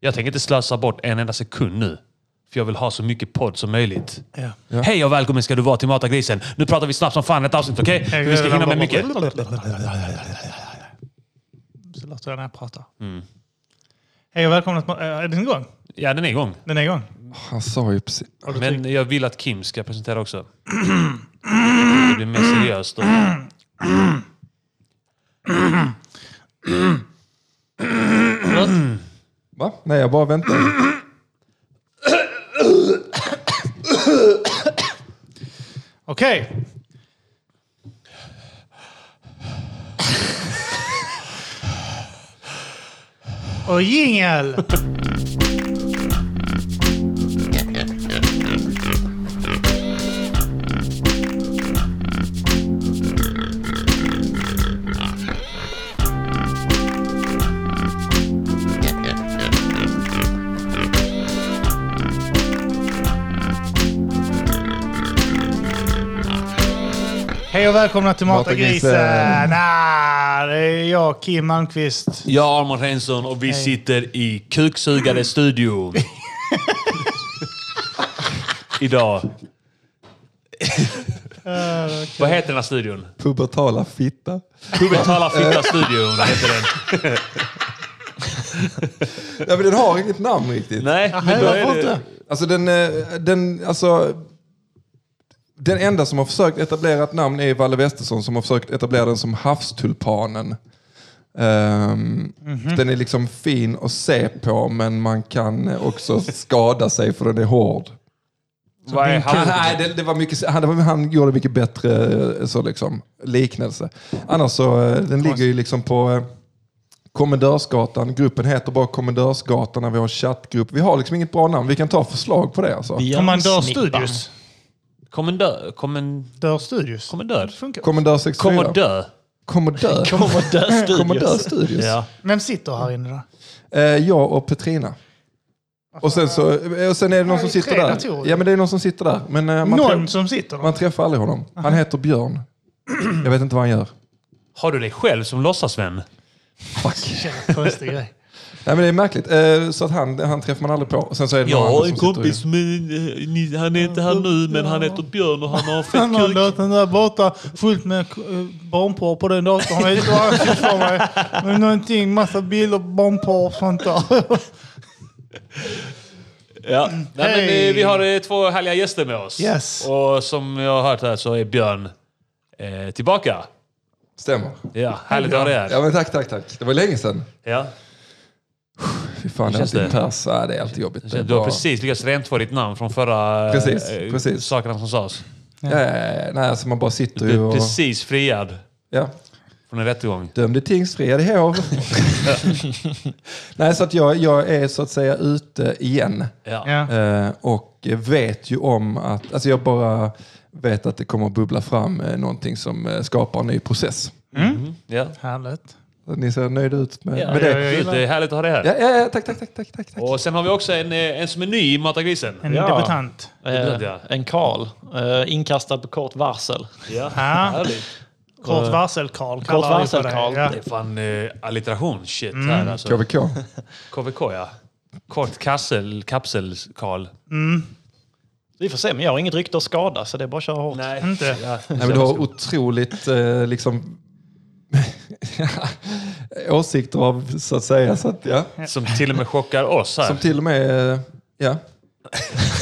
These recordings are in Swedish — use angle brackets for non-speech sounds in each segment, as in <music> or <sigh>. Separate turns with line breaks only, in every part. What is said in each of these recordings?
Jag tänker inte slösa bort en enda sekund nu. För jag vill ha så mycket podd som möjligt.
Ja.
Hej och välkommen ska du vara till Mata grisen. Nu pratar vi snabbt som fan ett avsnitt, okej? För Vi ska hinna med mycket.
Så låter jag när jag pratar. Hej och välkomna till... eh, Är den igång?
Ja, den är igång.
Den är igång.
Han sa ju precis...
Har du tryckt?
Men jag vill att Kim ska presentera också. Det blir mer seriöst. då.
Va? Nej, jag bara väntar.
Okej. Och jingel! Hej och välkomna till Mata
Mata grisen.
grisen! Ah, det är jag, Kim Malmqvist.
Jag är Armand Henson och vi sitter i kuksugade studion. Idag. <laughs> Ah, Vad heter den här studion?
Pubertala fitta.
Pubertala fitta-studion heter den.
Nej, men den har inget namn riktigt.
Nej, men
Nej,
då
varför
är det...
inte?
Alltså den, eh, den, alltså... Den enda som har försökt etablera ett namn är Valle Westesson som har försökt etablera den som havstulpanen. Ehm,
Mhm.
Den är liksom fin att se på men man kan också skada sig för den är hård.
Vad är
Han,
han?
nej, det, det var mycket, han, det var, han gjorde mycket bättre eh, så liksom, liknelse. Annars så, eh, den ligger ju liksom på eh, Kommendörsgatan. Gruppen heter bara Kommendörsgatan när vi har chattgrupp. Vi har liksom inget bra namn. Vi kan ta förslag på det alltså.
Kommandör Studios.
Kommendör? Kommen,
Dör Studios.
kommendör?
Funkar.
Kommendör 64.
Kommendör?
Kommendör.
Kommandör
Kommendör
Studios.
Studios.
Ja.
Vem sitter här inne då?
Eh, jag och Petrina. Och sen, så, eh, och sen är det någon
det är
som sitter
Alltså, tre
där.
datorer.
Ja, men det är någon som sitter där. Men eh, man,
Någon
träff,
som sitter
man
där?
träffar aldrig honom. Han heter Björn. Jag vet inte vad han gör.
Har du dig själv som låtsasvän?
Fuck.
Jävla Konstig grej.
Nej men det är märkligt. Eh, Så att han, han träffar man aldrig på. Och Sen så är det någon annan som sitter och-
som han är inte här nu, men han heter Björn och han har
<laughs> Han har datorn där borta fullt med eh, barnporr på den datorn. Han vet inte vad han ska för mig. Men någonting, massa bilder på barnporr och sånt där.
Ja. Nej, men,
Hej.
eh, vi har eh, två härliga gäster med oss.
Yes.
Och som jag har hört här så är Björn eh, tillbaka.
Stämmer.
Ja, härligt att ha dig här.
Ja men tack, tack, tack. Det var länge sedan.
Ja.
Fy fan, det är
Känns
alltid
det?
pers. Ja, det är alltid jobbigt. Det är
Du har
bara-
precis lyckats rentvå ditt namn från förra eh,
Precis,
eh,
precis.
sakerna som sades.
Ja, ja, ja. Nej, alltså man bara sitter ju
Du är
och...
precis friad
Ja.
från en rättegång.
Dömd i tingsfred i <laughs> hov. Nej, så att jag, jag är så att säga ute igen.
Ja.
<laughs> Ja.
Eh, Och vet ju om att... Alltså jag bara vet att det kommer att bubbla fram eh, någonting som eh, skapar en ny process.
Mm. ja.
Härligt.
Ni ser nöjda ut med,
Ja,
med
ja,
det.
ja, ja. Det är härligt att ha dig här.
Ja, ja, ja, tack, tack, tack, tack, tack. tack.
Och sen har vi också en, eh, en som är ny i Matagrisen.
En
Ja.
debutant.
Ibland, ja.
Eh, en Karl. Eh, inkastad på kort varsel.
Ja.
Ja.
Härligt.
Kort varsel-Karl
Kort
kallar vi
varsel,
på det.
Karl.
Ja.
Det är fan eh, alliteration shit här alltså.
KVK.
KVK ja. Kort kassel, kapsel, Karl.
Vi får se, men jag har inget rykte att skada så det är bara att köra hårt.
Nej.
Inte.
Ja.
Nej, men du har otroligt eh, liksom, <laughs> åsikter av, så att säga. Så att, ja.
Som till och med chockar oss här.
Som till och med... eh, Ja.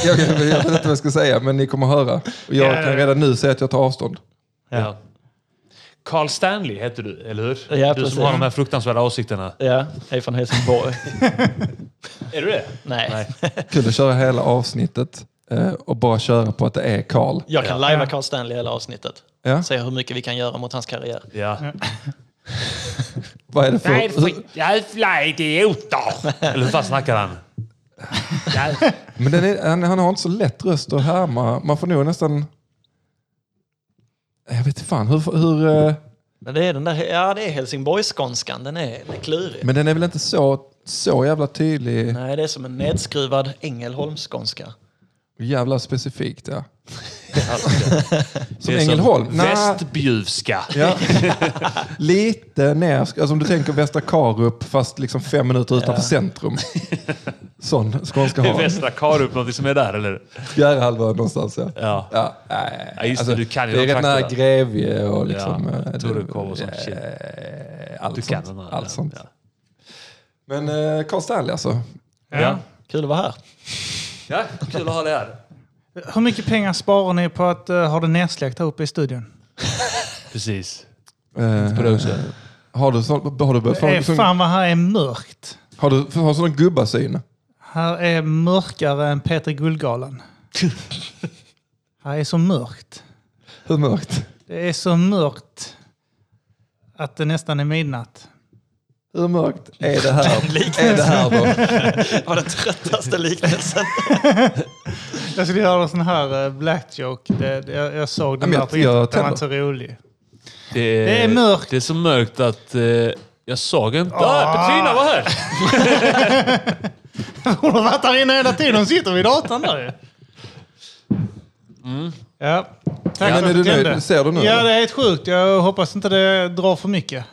Jag, jag vet inte vad jag ska säga, men ni kommer höra. Och jag
Ja.
kan redan nu säga att jag tar avstånd.
ja. Carl Stanley heter du, eller hur? du
Ja, precis.
som har de här fruktansvärda åsikterna.
Ja, jag är från <laughs> Helsingborg.
Är du det?
Nej.
Nej.
Kul att köra hela avsnittet eh, och bara köra på att det är Karl.
Jag kan lajva Carl Stanley hela avsnittet.
Ja.
Se hur mycket vi kan göra mot hans karriär.
Ja.
Vad är det för...
jävla idioter! Eller hur fan snackar han?
Men den är, han, han har inte så lätt röst att härma. Man får nog nästan... Jag vet inte fan, hur... hur eh,
Men det är den där, ja det är Helsingborgsskånskan, den är, den är klurig.
men den är väl inte så, så jävla tydlig?
Nej, det är som en nedskruvad Ängelholmsskånska.
Jävla
<laughs>
specifikt ja.
Det är
Ängelholm. Nej.
Västbjuvska. <laughs>
ja. Lite ner, alltså om du tänker Västra Karup fast liksom fem minuter utanför centrum. Sån skånska
Det är
har
Västra Karup, någonting som är där eller?
Bjärehalvön någonstans ja.
Ja.
Ja, nej. Alltså,
Ja, just det, du kan ju
det är
de
rätt nära
trakterna.
Grevie och liksom...
Ja,
eh, det-
Torekov och sånt
eh,
shit.
Allt
Du kan
sånt.
den här.
allt sånt.
Ja.
Men eh, Carl Stanley alltså.
Ja. Kul att vara här.
ja, kul att ha dig här.
Hur mycket pengar sparar ni på att eh, ha det nedsläckt här uppe i studion?
Precis.
Eh, har, du sån, har du börjat få
Eh,
sån,
fan vad här är mörkt.
har du, har du sån gubbasyn?
Här är mörkare än Peter
<laughs>
Guldgalan. här är så mörkt.
Hur mörkt?
Det är så mörkt att det nästan är midnatt.
Hur mörkt är det här? <laughs> är det här då?
Det var den tröttaste liknelsen.
Jag skulle göra en sån här eh, black joke. Det, det, jag, jag såg den
men
där
jag-
på
jag
internet. Den var
tänder.
inte så rolig.
Det är,
Det är mörkt.
Det är så mörkt att eh, jag såg inte... Ah,
Ah.
Petrina var här!
Hon har varit där inne hela tiden. Hon sitter vid datorn där ju. Ja. Tack
Ja, Mm. men
för
är du
att
nöjd?
tände.
Ser du nu,
Ja,
eller?
det är helt sjukt. Jag hoppas inte det drar för mycket.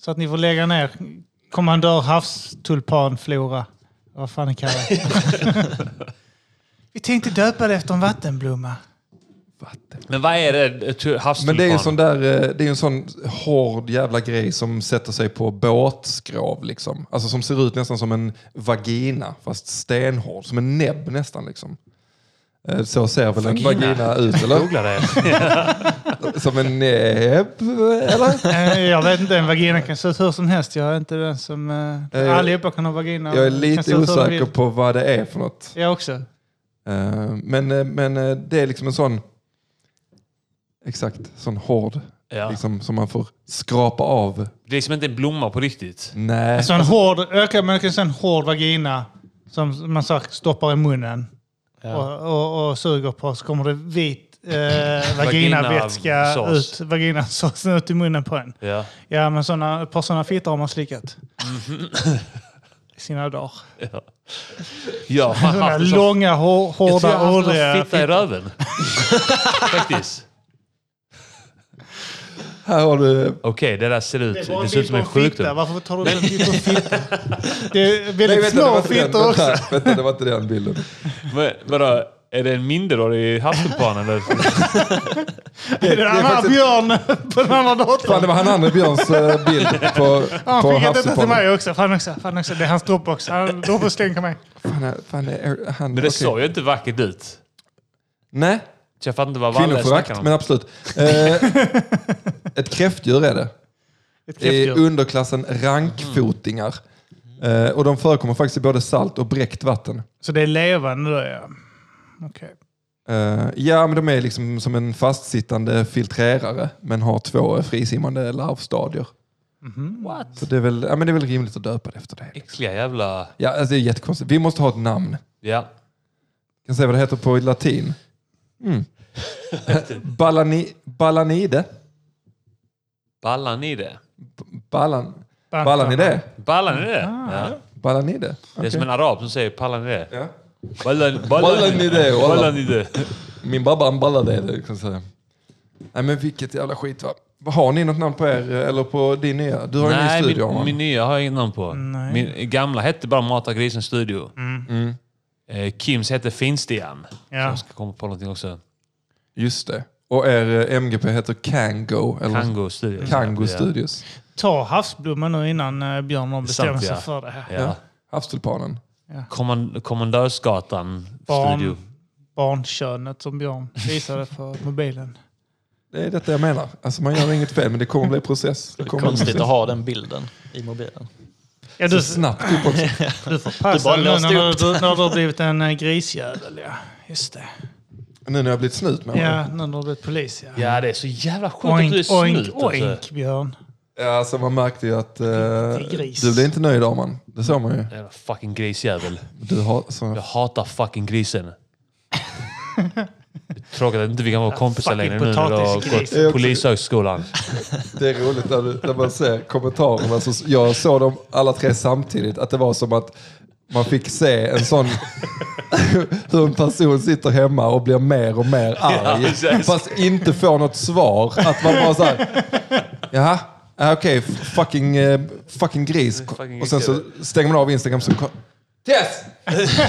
Så att ni får lägga ner kommandör havstulpanflora. Vad fan ni kallar det.
<laughs>
Vi tänkte döpa det efter en vattenblomma.
Men vad är det?
Men
Havstulpan?
det är ju sån där, eh, det är ju en sån hård jävla grej som sätter sig på båtskrov liksom. Alltså som ser ut nästan som en vagina fast stenhård. Som en näbb nästan liksom. Eh, Så ser väl en vagina ut eller?
Googla det.
<laughs> Som en näbb eller?
Eh, Jag vet inte, en vagina kan se ut hur som helst. Jag är inte den som... eh,
Eh,
Allihopa kan ha vagina.
Jag är
Det kan se
lite
ut hur de
osäker
vill.
på vad det är för något.
Jag också.
Eh, Men, eh, men eh, det är liksom en sån, exakt, sån hård.
Ja.
Liksom, som man får skrapa av.
Det är liksom inte en blomma på riktigt.
Nej.
Så Alltså en hård, ökad, men kan säga en hård vagina som man så här stoppar i munnen
Ja.
och, och, och suger på. Så kommer det vit eh, vaginavätska
Vaginasås.
ut, vaginasåsen ut i munnen på en.
Ja.
Ja, men såna, ett par sådana fittor har man slickat. I sina dagar.
Ja. Jag har fan
Sådana
haft en sån-
långa, hår,
jag tror jag
hårda,
har haft en
ådriga
sån fitta i
fittor.
röven. <laughs> Faktiskt.
Här har du
Okej, det där ser ut...
Det är bara
Det ser ut som en
bild på fitta.
sjukdom.
Varför tar du en bild på en fitta? Det är väldigt
vänta,
små
det var inte
fittor
den.
också.
Vänta, Vänta, det var inte
<laughs>
den bilden.
Men, vadå, är det en minderårig havstulpan eller?
Det är den
det är
andra
faktiskt-
björnen på den andra datorn.
Fan, det var han andra Björns eh, bild på,
Ja,
på
Han skickade detta till
havsupphållet.
mig också. Fan också, fan också. Det är hans dropp också. Han dropp och släng på mig.
Fan, eh, fan, det är han.
Men det
okej.
såg ju inte vackert ut.
Nej,
Så jag fattar inte vad Valle snackar
kvinnoförakt,
om.
men absolut. Eh, ett kräftdjur är det.
<laughs> Ett
I
kräftdjur.
underklassen rankfotingar.
Mm.
Eh, och de förekommer faktiskt i både salt och bräckt vatten.
Så det är levande då ja. Okej.
Eh, ja, men de är liksom som en fastsittande filtrerare, men har två frisimmande larvstadier.
What?
Så det är väl, ja, men det är väl rimligt att döpa det efter det. liksom.
Äckliga jävla...
Ja, alltså, det är jättekonstigt. Vi måste ha ett namn.
Ja.
kan säga vad det heter på latin.
<laughs>
Mm. Ballani, ballanide.
Ballar ni det?
Ballan,
Bantama.
ballanide.
Ballar ni det? ja.
Ballanide.
Det är som en arab som säger pallar ni det?
Ah, Ja. <laughs>
Ballar,
Ballar ni det? Wallah.
Ballar ni det?
Min babba han ballade det. Liksom så här. Nej men vilket jävla skit va. Har ni något namn på er eh, eller på din nya? Du har ju en ny
Nej,
studio
min,
Arman.
min nya har jag inget namn på.
Nej. Mm.
Min gamla hette bara Mata grisen studio.
Mm.
Eh, Kims hette Finstian. Så
Ja.
jag ska komma på någonting också.
Just det. Och er eh, MGP heter Kango. Eller
Kango studio.
Kango
Ja.
Studios.
Ta havsblomman nu innan eh, Björn har bestämt
Sant, ja.
sig för det här.
Ja.
Havstulpanen.
Kommand- Kommandörsgatan
Barn.
studio.
Barnkönet som Björn visade på mobilen.
Det är detta jag menar. Alltså man gör inget fel men det kommer bli process. Det kommer bli
Konstigt
process.
att ha den bilden i mobilen.
Ja, du,
Snabbt upp också.
du får passa
bara
nu
låste
när
upp
du, när du har blivit en eh, grisjävel. Ja. Just det.
Nu när jag har blivit snut med honom.
Ja, nu när du har blivit polis. Ja.
Ja, det är så jävla sjukt att du är
Oink, oink,
snut. Alltså.
oink, Björn.
Ja, alltså man märkte ju att eh,
gris.
du blev inte nöjd Arman. Det såg man ju.
Jävla fucking grisjävel.
Du har, så,
Jag hatar fucking grisen. Tråkigt att inte vi kan vara kompisar
fucking
längre nu när du har
potatisgris.
gått Polishögskolan.
det är roligt när, du, när man ser kommentarerna. Så, jag såg dem alla tre samtidigt. Att det var som att man fick se en sån... <laughs> hur en person sitter hemma och blir mer och mer
Ja,
arg.
precis.
fast inte får något svar. Att man bara såhär, jaha, ah, okej, f- fucking, eh, fucking gris.
Fucking
och sen så stänger man av Instagram så ko- Tess!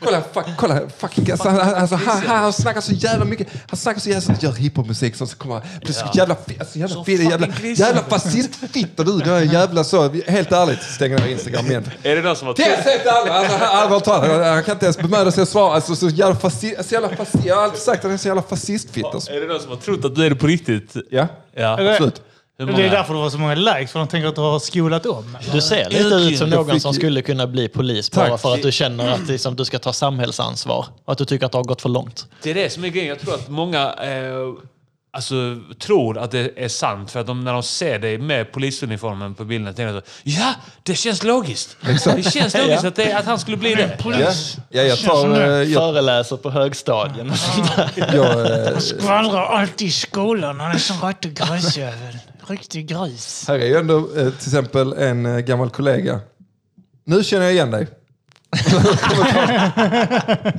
kolla, fuck, kolla, fucking, alltså, han, alltså, han, han, han snackar så jävla mycket. Han snackar så jävla, så gör hiphopmusik som så kommer han blir så jävla, fi- alltså, jävla, fi- jävla, jävla fascistfitta du. Jag är jävla så, helt ärligt, stänger av Instagram igen.
Är det någon som har...
Tess helt ärligt, alltså, han- allvarligt talat, han- han kan inte ens bemöda sig att svara. Alltså, så jävla fascist, alltså, jävla fascist, jag har alltid sagt att han är så jävla fascistfitta. Alltså.
Är det någon som har trott att du är det på riktigt?
Ja,
Ja.
Eller-
absolut.
Hur
Det är
många?
därför det var så många likes, för de tänker att du har skolat om.
Du ser lite ut som
Jag
någon
fick-
som skulle kunna bli polis bara
Tack.
för att du känner att liksom, du ska ta samhällsansvar och att du tycker att det har gått för långt.
Det är det som är grejen. Jag tror att många eh, alltså, tror att det är sant. För att de, när de ser dig med polisuniformen på bilden tänker de så Ja, det känns logiskt. Det känns logiskt att, det, att han skulle bli det.
Ja, ja jag
Känns
tar...
som det.
eh, Jag,
Föreläser på högstadien <laughs> och sånt där.
jag, eh,
Skvallrar alltid i skolan. Han är som riktig grisjävel. Riktig gris.
här är ju ändå eh, till exempel en eh, gammal kollega. Nu känner jag igen dig. <laughs> Kommentar.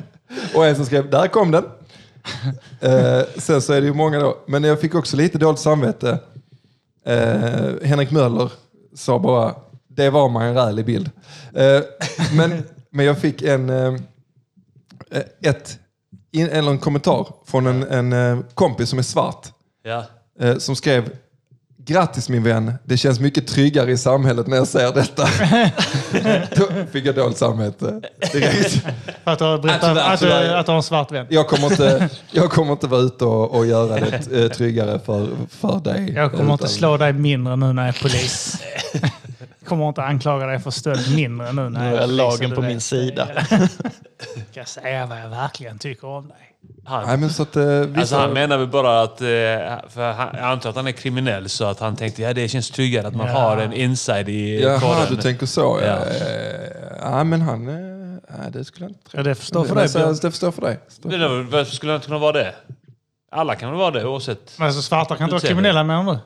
Och en som skrev, där kom den. Eh, sen så är det ju många då. Men jag fick också lite dåligt samvete. Eh, Henrik Möller sa bara, det var man en rälig bild. Eh, men, men jag fick en, eh, ett, in, eller en kommentar från en, en eh, kompis som är svart.
Ja.
eh, som skrev Grattis min vän, det känns mycket tryggare i samhället när jag
<laughs>
ser detta. Då fick jag dåligt samvete direkt.
För att du har berättat
Alltså,
att,
alltså,
du-
där-
att du har en svart vän.
Jag kommer inte, jag kommer inte vara ute och, och göra det eh, tryggare för, för dig.
Jag kommer inte
Utan-
slå dig mindre nu när jag är
<laughs>
polis. Jag kommer inte anklaga dig för stöld mindre nu när
Nu
jag
är
är polis.
lagen
och
på
du
min
vet.
sida.
Jag kan säga vad jag verkligen tycker om dig.
Han,
Nej, men så att, eh, vissa,
alltså, han menar väl bara att... eh, För han, jag antar att han är kriminell så att han tänkte ja, det känns tryggare att man
Ja.
har en inside i
Jaha, du
koden.
tänker så. Ja.
Ja.
Eh, Ja, men han... eh, Nej, det skulle jag inte tro.
Ja, det förstår för
Men
dig,
så-
Björn.
Det förstår för dig.
Det där, varför skulle han inte kunna vara det? Alla kan väl vara det oavsett.
Men alltså, svarta kan inte vara
Säger
kriminella menar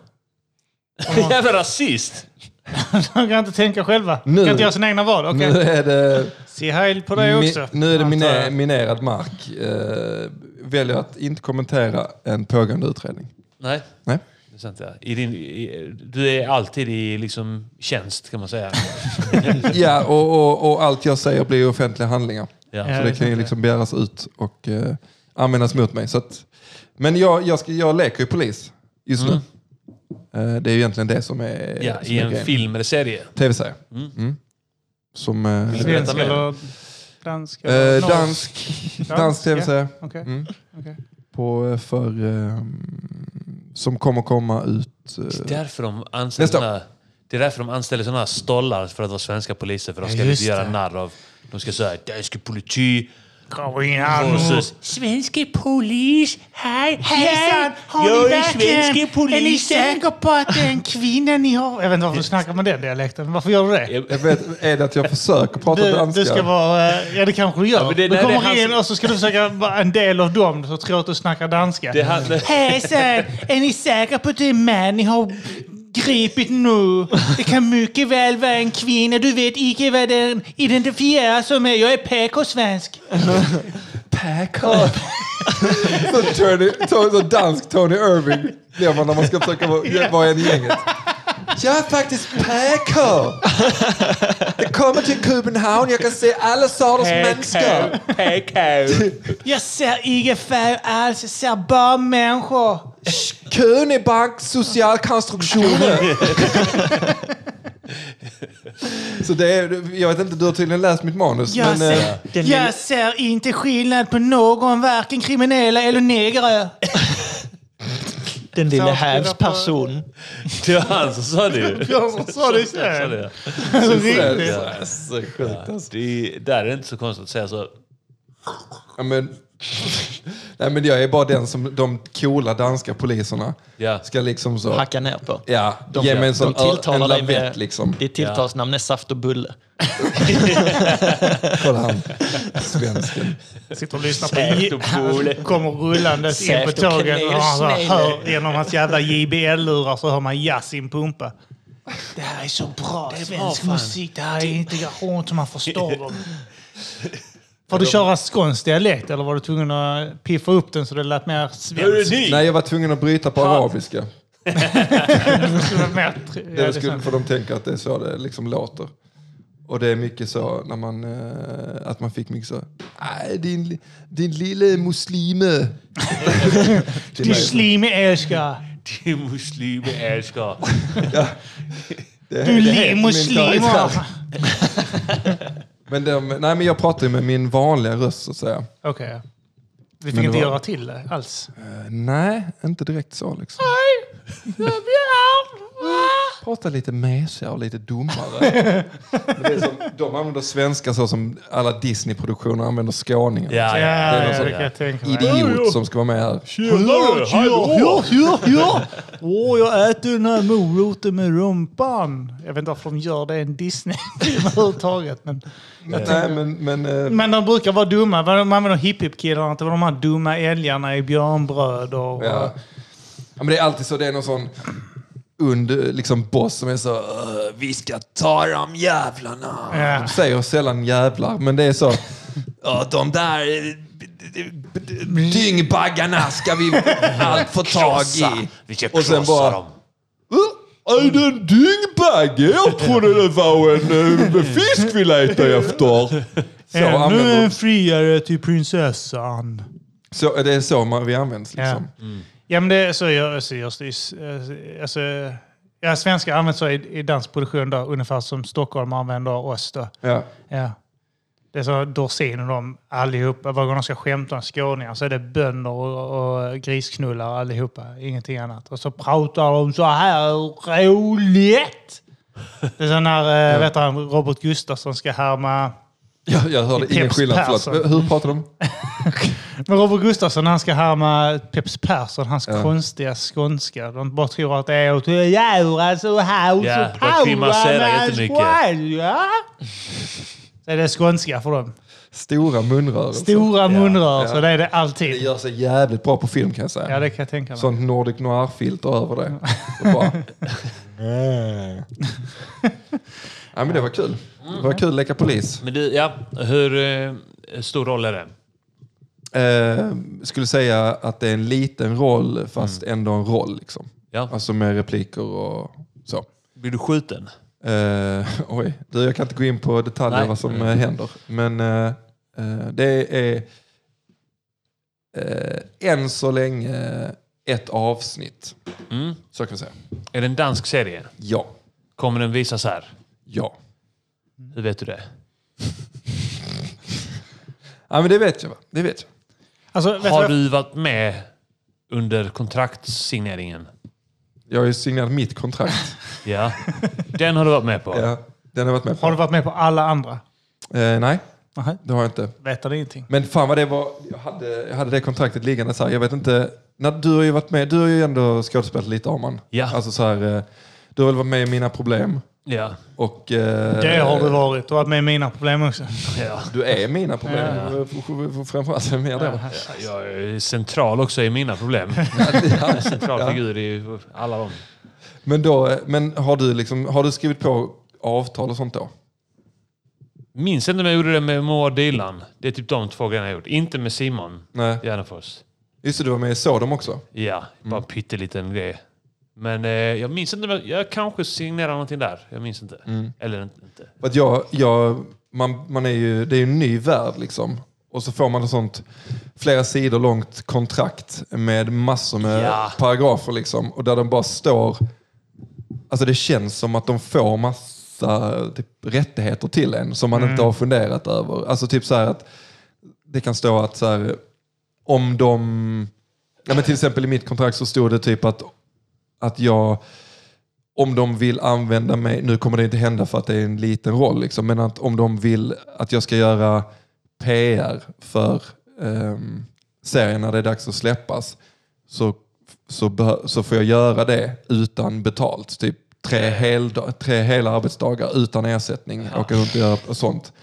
du?
<laughs> Jävla rasist!
<laughs> De kan inte tänka själva. De
Nu-
kan inte göra sina egna val. Okej.
Nu är det...
Se heil på dig
Mi-
också.
Nu är det
antar
mine-
jag.
minerad mark. Eh, väljer att inte kommentera en pågående utredning.
Nej.
Nej.
Det är sant, ja. I din, i, du är alltid i liksom, tjänst, kan man
<laughs>
säga.
Ja, och, och, och allt jag säger blir ju offentliga handlingar.
Ja.
Ja.
Så det kan ju liksom begäras ut och eh, användas mot mig. Så att, men jag, jag, ska, jag leker ju polis just nu. Eh, det är ju egentligen det som är...
Ja,
som
I
är
en
grejen.
film eller serie.
Tv-serie. Mm. Som... eh,
Vill du berätta
Svensk
mer?
eller dansk? eller
eh,
norsk?
dansk dansk tv-serie.
Okej.
Mm.
Okej.
På, eh, för, eh, som kommer komma ut... eh,
Det är därför de anställer
Nästa.
såna, det är därför de anställer sådana här stollar för att vara svenska poliser. För de ska
Ja, just
inte göra
det.
narr av... De ska säga dansk politi
Kom in här nu.
versus svenska polis. Hej,
Hejsan! Har
Jag
ni
är svenska
verkligen... Är ni
polisen.
säkra på att det är en kvinna ni har? Jag vet inte varför du snackar med den dialekten. Varför gör du det?
Jag-
Jag vet, är det att jag försöker prata
Du,
danska?
du ska vara... eh, Ja, det kanske du gör.
Ja, men det-
du
nej,
kommer
det är han
in
som-
och så ska du försöka vara en del av dem så tror jag att du snackar danska.
Det här, det,
Hejsan! Är ni säkra på att det är män ni har gripit nu? Det kan mycket väl vara en kvinna. Du vet icke vad den identifierar som är. Jag är PK-svensk.
Packard. <laughs> så, Tony, Tony, så dansk Tony Irving blir man när man ska försöka vara, vara en i gänget. Jag är faktiskt Packard. Det kommer till Köpenhamn, jag kan se alla sorters människor.
Jag ser ingen färg alls. Jag ser bara människor.
Kön är bank, social konstruktion. <laughs> så det är, jag vet inte, du har tydligen läst mitt manus.
Jag,
men, eh,
ser, jag ser inte skillnad på någon, varken kriminella eller negrer. <laughs>
Den
Så, skriva
lille Hävs
på-
person.
det var han som sa det ju.
Jag som sa det
Sa
själv.
det.
Riktigt.
Ja.
Så sjukt alltså.
Det är, där är det inte så konstigt att säga så.
Ja, men, <laughs> nej, men jag är bara den som de coola danska poliserna
Ja.
ska liksom så...
Hacka ner på.
Ja,
De,
ge mig en sån
de tilltalar
en
dig
lavett
med...
liksom.
Ditt tilltalsnamn är Saft och Bulle.
Kolla han, svensken.
Sitter och lyssnar
Säkert och
på...
cool.
Han kommer rullandes in på
Säkert och
tåget och han så här
kanelsnäll.
hör genom hans jävla JBL-lurar så hör man Yasin pumpa. Det här är så bra
är bra,
svensk
fan.
musik. Det här är integration som man förstår. dem. Får du köra skånsk dialekt eller var du tvungen att piffa upp den så det lät mer svenskt?
ny?
Nej, jag var tvungen att bryta på arabiska.
Det var mer tr- ja,
Det
det är
skulle,
sant.
för de tänker att det är så det liksom låter. Och det är mycket så när man, eh, att man fick mycket så, "Aj, din, li- din lille muslime. Till
Du
mig.
slim i Erska.
Din muslim älskar.
Det-
Du
det heter
li
min
muslimer.
karaktär. Men, de, nej, men jag pratar ju med min vanliga röst så att säga.
Okej. Vi
Men
fick
det
inte
var-
göra till det alls.
Eh, nej, inte direkt så liksom. Prata lite mesigare och lite dummare. <laughs> Men det är som, de använder svenska så som alla Disney-produktioner använder skåningar.
Ja,
Ja,
ja.
någon
ja,
sån
det kan jag tänka mig.
Idiot som ska vara med här.
Tjena,
Ja, ja, ja! Åh, jag äter den här moroten med rumpan. Jag vet inte varför de gör det i en Disney <laughs> överhuvudtaget. Men,
Nej, men, men, eh,
men de brukar vara dumma. Vad De använder hiphop-killarna till de här dumma älgarna i björnbröd och...
Ja. ja, men det är alltid så. Det är någon sån und liksom boss som är så "Åh, vi ska ta de jävlarna.
Ja.
De säger sällan jävlar, men det är så. "Ja, de där eh, b- b- b- dyngbaggarna ska vi
<laughs>
allt få tag i.
Vi ska
Och sen
krossa
bara-
dem.
"Åh, Är det en dyngbagge? Jag trodde det var en eh, fisk vi letade efter. Så,
Ännu
använder,
en friare till prinsessan.
så det är så man, vi används liksom.
Ja. Ja, men det så gör- så görs det ju. s- eh, Alltså, ja, svenskar används så i, i dansproduktion då, ungefär som Stockholm använder oss då.
Ja.
Ja. Det är så Dorsin och de allihopa, varje gång de ska skämta om skåningar så är det bönder och, och grisknullar allihopa, ingenting annat. Och så pratar de så här roligt! Det är så när, eh, vet han, Robert Gustafsson ska härma
Jag, jag hörde ingen
Peps
skillnad.
Persson.
Förlåt. Hur pratar de?
Men Robert Gustafsson han ska härma Peps Persson, hans
Ja.
konstiga skånska. De bara tror att det är åt djura så här och
Ja,
så
de grimaserar jättemycket.
ja. Så är det skånska för dem.
Stora munrörelser.
Stora munrörelser,
ja.
det är det
Det
alltid.
gör sig jävligt bra på film kan jag säga.
Ja, det kan jag tänka mig.
Sånt Nordic noir-filter över det.
<laughs>
Och bara... ja, men det var kul. Det
Mm.
var kul att leka polis.
Men du, ja. Hur eh, stor roll är det?
Eh, skulle säga att det är en liten roll fast
Mm.
ändå en roll. Liksom.
Ja.
Alltså med repliker och så.
Blir du skjuten?
Eh, <laughs> oj, du, jag kan inte gå in på detaljer
Nej.
vad som eh, händer. Men eh, eh, det är eh, än så länge ett avsnitt.
Mm.
Så kan vi säga.
Är det en dansk serie?
Ja.
Kommer den visas här?
Ja.
Hur vet du det?
Ja, men det vet jag. Va? Det vet jag.
Alltså, vet du
Har
vad?
du varit med under kontraktsigneringen?
Jag har ju signerat mitt
<laughs>
kontrakt.
Ja. Den har du varit med på?
ja, den har jag varit med på.
har du varit med på alla andra?
Eh, nej,
Nej,
det har jag inte.
vet du ingenting?
Men fan vad det var. Jag hade, jag hade det kontraktet liggande så här. Jag vet inte. När du har ju varit med. Du har ju ändå skådespelat lite Arman.
Ja.
Alltså så här. eh, Du har väl varit med i Mina Problem.
Ja.
Och, eh,
Det har du varit. Du har varit med i mina problem också.
ja.
Du är mina problem. Ja. Framförallt är mer det.
Jag är central också i mina problem. Central figur i alla dem.
Men, då, eh, men har, du liksom, har du skrivit på avtal och sånt då?
Minns inte när jag gjorde det med Moa Dylan. Det är typ de två grejerna jag gjort. Inte med Simon
Nej.
Gärdenfors.
Just det, du var med i Sodom också.
Ja, bara en pytteliten grej. Men eh, jag minns inte. men Jag kanske signerar någonting där. Jag minns inte. Eller inte- inte.
För Att jag, jag, man, man är ju, det är ju en ny värld liksom. Och så får man ett sånt flera sidor långt kontrakt med massor med
Ja.
paragrafer liksom. Och där de bara står... Alltså det känns som att de får massa typ, rättigheter till en som man inte har funderat över. Alltså typ så här att det kan stå att så här, om de... Ja, men till exempel i mitt kontrakt så stod det typ att, att jag... Om de vill använda mig, nu kommer det inte hända för att det är en liten roll, liksom, men att om de vill att jag ska göra PR för ehm, serien när det är dags att släppas så, så, behö- så får jag göra det utan betalt. Typ tre, helda- tre hela arbetsdagar utan ersättning. Åka runt och göra och sånt.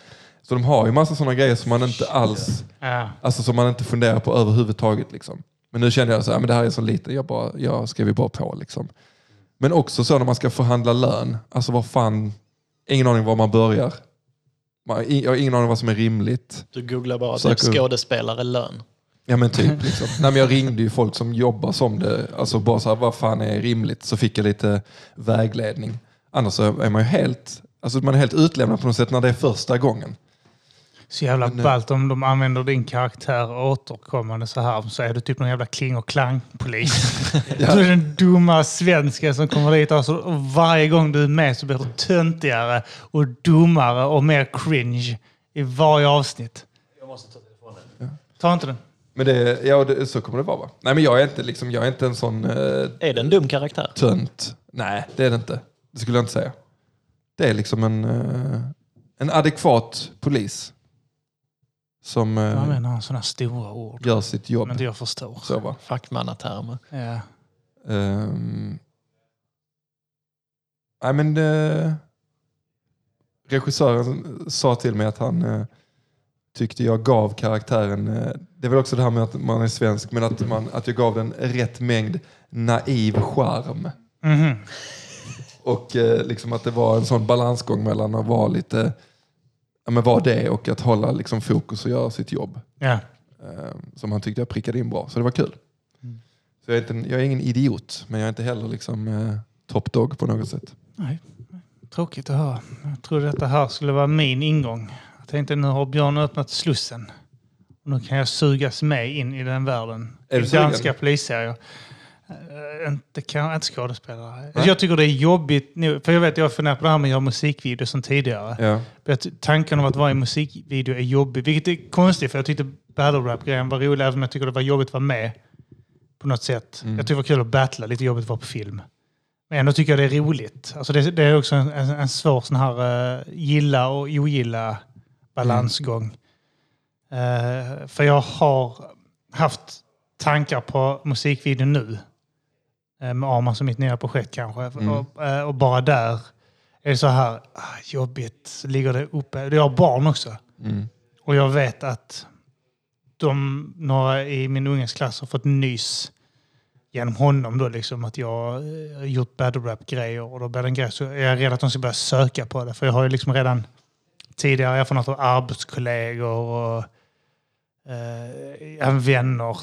Så de har ju massa sådana grejer som man inte alls
Ja.
alltså, som man inte funderar på överhuvudtaget. Liksom. Men nu kände jag så här, men det här är så lite, jag, bara, jag skriver bara på. Liksom. Men också så när man ska förhandla lön, alltså vad fan, ingen aning var man börjar. Man, i- jag har ingen aning om vad som är rimligt.
Du googlar bara
Söker
typ
upp.
skådespelare lön.
Ja men typ. Liksom. Nej, men jag ringde ju folk som jobbar som det. Alltså bara så här, vad fan är rimligt? Så fick jag lite vägledning. Annars så är man ju helt, alltså man är helt utlämnad på något sätt när det är första gången.
Så jävla
Men, eh,
ballt om de använder din karaktär återkommande så här. Så är du typ någon jävla kling och klang-polis.
<laughs>
Du är den dumma svensken som kommer dit och, så, och varje gång du är med så blir du töntigare och dummare och mer cringe i varje avsnitt.
Jag måste ta telefonen.
Ta inte den.
Men det, ja, det, så kommer det vara va? Nej men jag är inte, liksom, jag är inte en sån eh,
Är det en dum karaktär?
tönt. Nej det är det inte. Det skulle jag inte säga. Det är liksom en, eh, en adekvat polis. Som
Jag
eh,
menar han sådana stora ord.
gör sitt jobb.
Men inte jag förstår.
Så va?
Fackmannatermer.
Ja.
Ehm. Nej men eh, regissören sa till mig att han eh, tyckte jag gav karaktären, eh, det är väl också det här med att man är svensk, men att, man, att jag gav den rätt mängd naiv charm.
Mhm.
Och eh, liksom att det var en sån balansgång mellan att vara lite, ja men vara det och att hålla liksom fokus och göra sitt jobb.
ja.
Ehm, som han tyckte jag prickade in bra. Så det var kul.
Mm.
Så jag, är inte, jag är ingen idiot, men jag är inte heller liksom, eh, top dog på något sätt.
Nej. Tråkigt att höra. Jag trodde att det här skulle vara min ingång. Jag tänkte nu har Björn öppnat slussen. Nu kan jag sugas med in i den världen.
Är
I
du sugen?
danska polisserier. Eh, inte, kan, inte skådespelare.
Nej.
Jag tycker det är jobbigt nu. För jag vet, jag har funderat på det här med att göra musikvideo som tidigare.
Ja.
Att tanken om att vara i en musikvideo är jobbig, vilket är konstigt för jag tyckte battle rap-grejen var rolig även om jag tycker det var jobbigt att vara med på något sätt.
Mm.
Jag tycker det var kul att battla, lite jobbigt att vara på film. Men ändå tycker jag det är roligt. Alltså det, det är också en, en, en svår sån här eh, gilla och ogilla balansgång. Eh, för jag har haft tankar på musikvideo nu. Eh, med Arman som mitt nya projekt kanske.
Mm.
Och, eh, och bara där är det så här ah, jobbigt. Så ligger det uppe. Jag har barn också.
Mm.
Och jag vet att de, några i min unges klass har fått nys genom honom då liksom att jag eh, har gjort battle rap grejer och då blir det en grej så är jag rädd att de ska börja söka på det för jag har ju liksom redan tidigare erfarenhet av arbetskollegor och eh, även vänner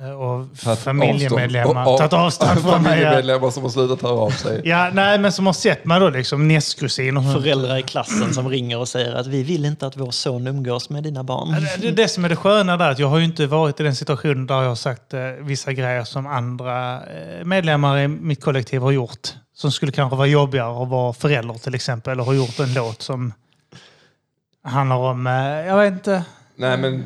eh, och
Tagit
familjemedlemmar.
avstånd. Och- och-
Tagit avstånd
<laughs>
från mig. ja.
Familjemedlemmar som har slutat höra av sig.
Ja, nej, men som har sett mig då liksom. Nästkusiner.
Föräldrar i klassen som ringer och säger att vi vill inte att vår son umgås med dina barn.
Det- Det, det som är det sköna där, är att jag har ju inte varit i den situationen där jag har sagt eh, vissa grejer som andra eh, medlemmar i mitt kollektiv har gjort. Som skulle kanske vara jobbigare att vara förälder till exempel, eller har gjort en låt som handlar om, eh, jag vet inte,
Nej, men, eh,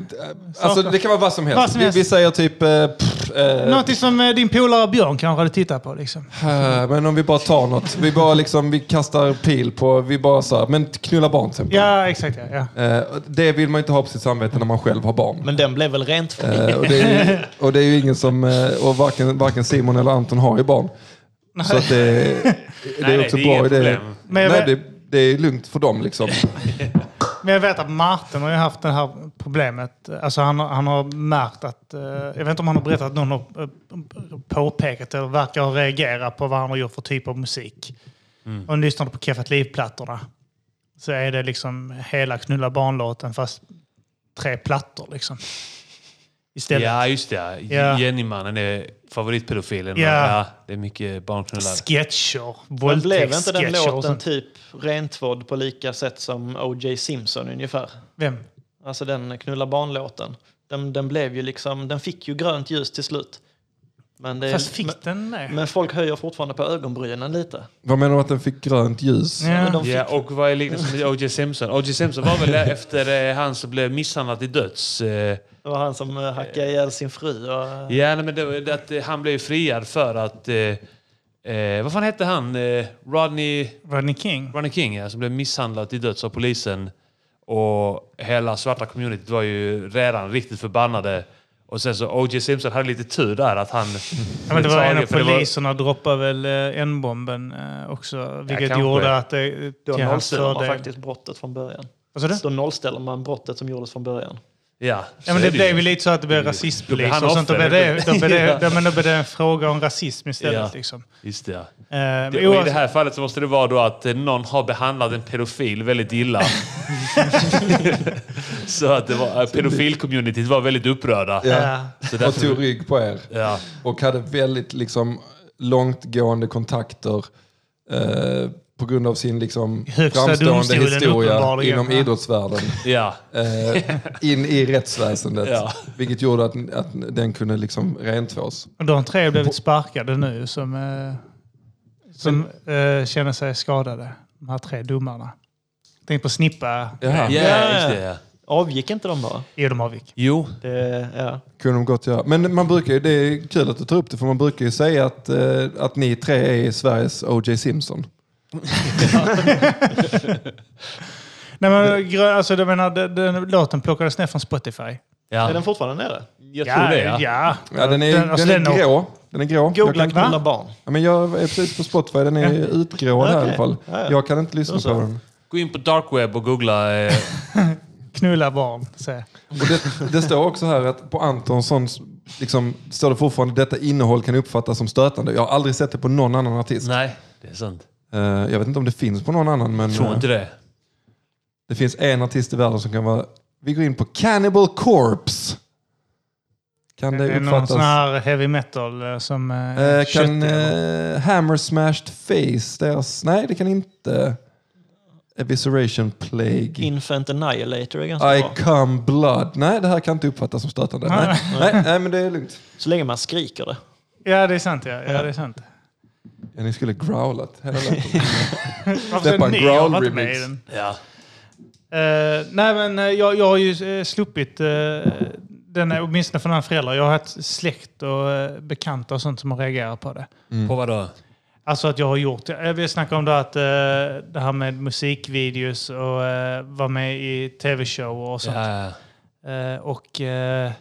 alltså, det kan vara vad som helst.
Vad som
Vi,
helst.
vi säger typ... eh, pff, eh,
någonting som eh, din polare Björn kanske hade tittat på liksom.
eh, men om vi bara tar något. Vi bara liksom, vi kastar pil på... Vi bara så här, men knulla barn till exempel.
Ja, exakt ja. ja.
Eh, det vill man inte ha på sitt samvete när man själv har barn.
Men den blev väl rent för
Eh, och, det är
<laughs>
ju, och det är ju ingen som... eh, Och varken, varken Simon eller Anton har ju barn.
<laughs>
Så att det, det
Nej,
är
nej,
också
det är
bra
inget
idé.
problem.
Men jag
Nej,
vet-
det, det är lugnt för dem liksom.
Men jag vet att Martin har ju haft det här problemet. Alltså han, har- han har märkt att, eh, jag vet inte om han har berättat att någon har eh, påpekat eller verkar ha reagerat på vad han har gjort för typ av musik. Mm. Och lyssnade på Keffat Liv-plattorna så är det liksom hela Knulla barnlåten fast tre plattor liksom. Istället.
Ja, just det.
Ja.
Ja. Jennymannen är favoritpedofilen.
Ja.
Ja. Ja, det är mycket barnknullare.
Sketcher,
Men blev inte den
våldtäktssketcher. och
låten
sånt.
typ rentvådd på lika sätt som O.J. Simpson ungefär?
Vem?
Alltså den knulla barnlåten. Den, den blev ju liksom, den fick ju grönt ljus till slut. Men, det,
Fast fick
Eh,
den
men,
det?
men folk höjer fortfarande på ögonbrynen lite.
Vad menar du att den fick grönt ljus?
Ja.
Men de fick,
Ja, och vad är liknelsen med O.J. Simpson? O.J. Simpson var
<laughs>
väl efter eh, han som blev misshandlad till döds. Eh,
Det var han som eh, hackade ihjäl sin fru. Och, eh,
ja, nej, men det, var- det, att, eh, han blev friad för att... Eh, eh, vad fan hette han? Eh, Rodney,
Rodney King?
Rodney King, ja, som blev misshandlad till döds av polisen. Och hela svarta communityt var ju redan riktigt förbannade. Och sen så O.J. Simpson hade lite tur där att han...
Ja, men det var en av
För det var-
poliserna droppade väl eh, en-bomben eh, också, vilket
kanske.
gjorde att det
Då
till hans
nollställer man
fördel.
faktiskt brottet från början.
Vad sa du?
Då nollställer man brottet som gjordes från början.
Ja, så
Ja, men det
är
blev
ju.
ju lite så att det blev
Det- då blev
rasistpolis
han
och sånt. Då
offer.
blev det, då blev det,
Ja.
då, men då blev det en fråga om rasism istället.
Ja.
Liksom.
Just det, ja.
Eh,
Det, och I det här fallet så måste det vara då att eh, någon har behandlat en pedofil väldigt illa. så att det var, eh, pedofilcommunityt var väldigt upprörda.
Ja.
Så
Och
därför,
tog rygg på er.
ja,
Och hade väldigt liksom, långtgående kontakter eh, på grund av sin liksom,
Högsta
framstående
domstolen
historia
uppenbarligen,
inom
ja.
idrottsvärlden.
ja.
Eh, in i rättsväsendet.
Ja.
Vilket gjorde att, att den kunde liksom rentvås.
Och de tre har blivit sparkade nu som, eh, som eh, känner sig skadade. De här tre domarna. Tänk på Snippa.
Jaha.
Ja,
Ja.
just det. Ja.
Avgick inte de bara?
Jo, de avgick.
Jo,
Det, ja.
Kunde de gott göra. Men man brukar ju, det är kul att du tar upp det, för man brukar ju säga att, eh, att ni tre är Sveriges O.J. Simpson.
Nej, men, grö- alltså, jag menar, den, den låten plockades ner från Spotify.
Är
ja.
den fortfarande nere?
jag tror det. Ja.
Ja.
Ja, den är, den,
alltså,
är
den-
grå. Den är grå. Jag,
Googla
kan,
knulla barn.
ja, men jag är precis på Spotify, den är utgrå här i alla fall.
Ja, ja.
Jag kan inte lyssna
Då
på
så.
den.
Gå in på darkweb och googla. Eh,
Knulla barn. Så.
Och det, det står också här att på Antonssons liksom, står det fortfarande detta innehåll kan uppfattas som stötande. Jag har aldrig sett det på någon annan artist.
nej, det är sant.
Eh, jag vet inte om det finns på någon annan, men
Jag tror
eh,
inte det.
det finns en artist i världen som kan vara... Vi går in på Cannibal Corpse. Kan
Det
det
är någon sån
uppfattas...
här heavy metal eh, som eh,
Eh,
kött.
kan eh, Hammer Smashed Face, deras... Nej, det kan inte. Evisceration Plague.
Infant Annihilator är ganska
I
bra.
come blood. Nej, det här kan inte uppfattas som stötande. Nej, nej, nej men det är lugnt.
Så länge man skriker det.
Ja, det är sant. Ja. Ja, det är sant.
Ja, ni skulle growlat hela låten.
Varför
Släppa
är
en
ni
growl
jag var inte med
remix.
i den?
Ja.
Eh, nej, men eh, jag, jag har ju eh, sluppit eh, den, här, åtminstone från andra föräldrar. Jag har haft släkt och eh, bekanta och sånt som har reagerat på det.
På vad då?
Alltså att jag har gjort det. Jag vill snacka om det, här att, eh, det här med musikvideos och eh, vara med i tv-shower och sånt.
Ja, ja.
Eh, och eh,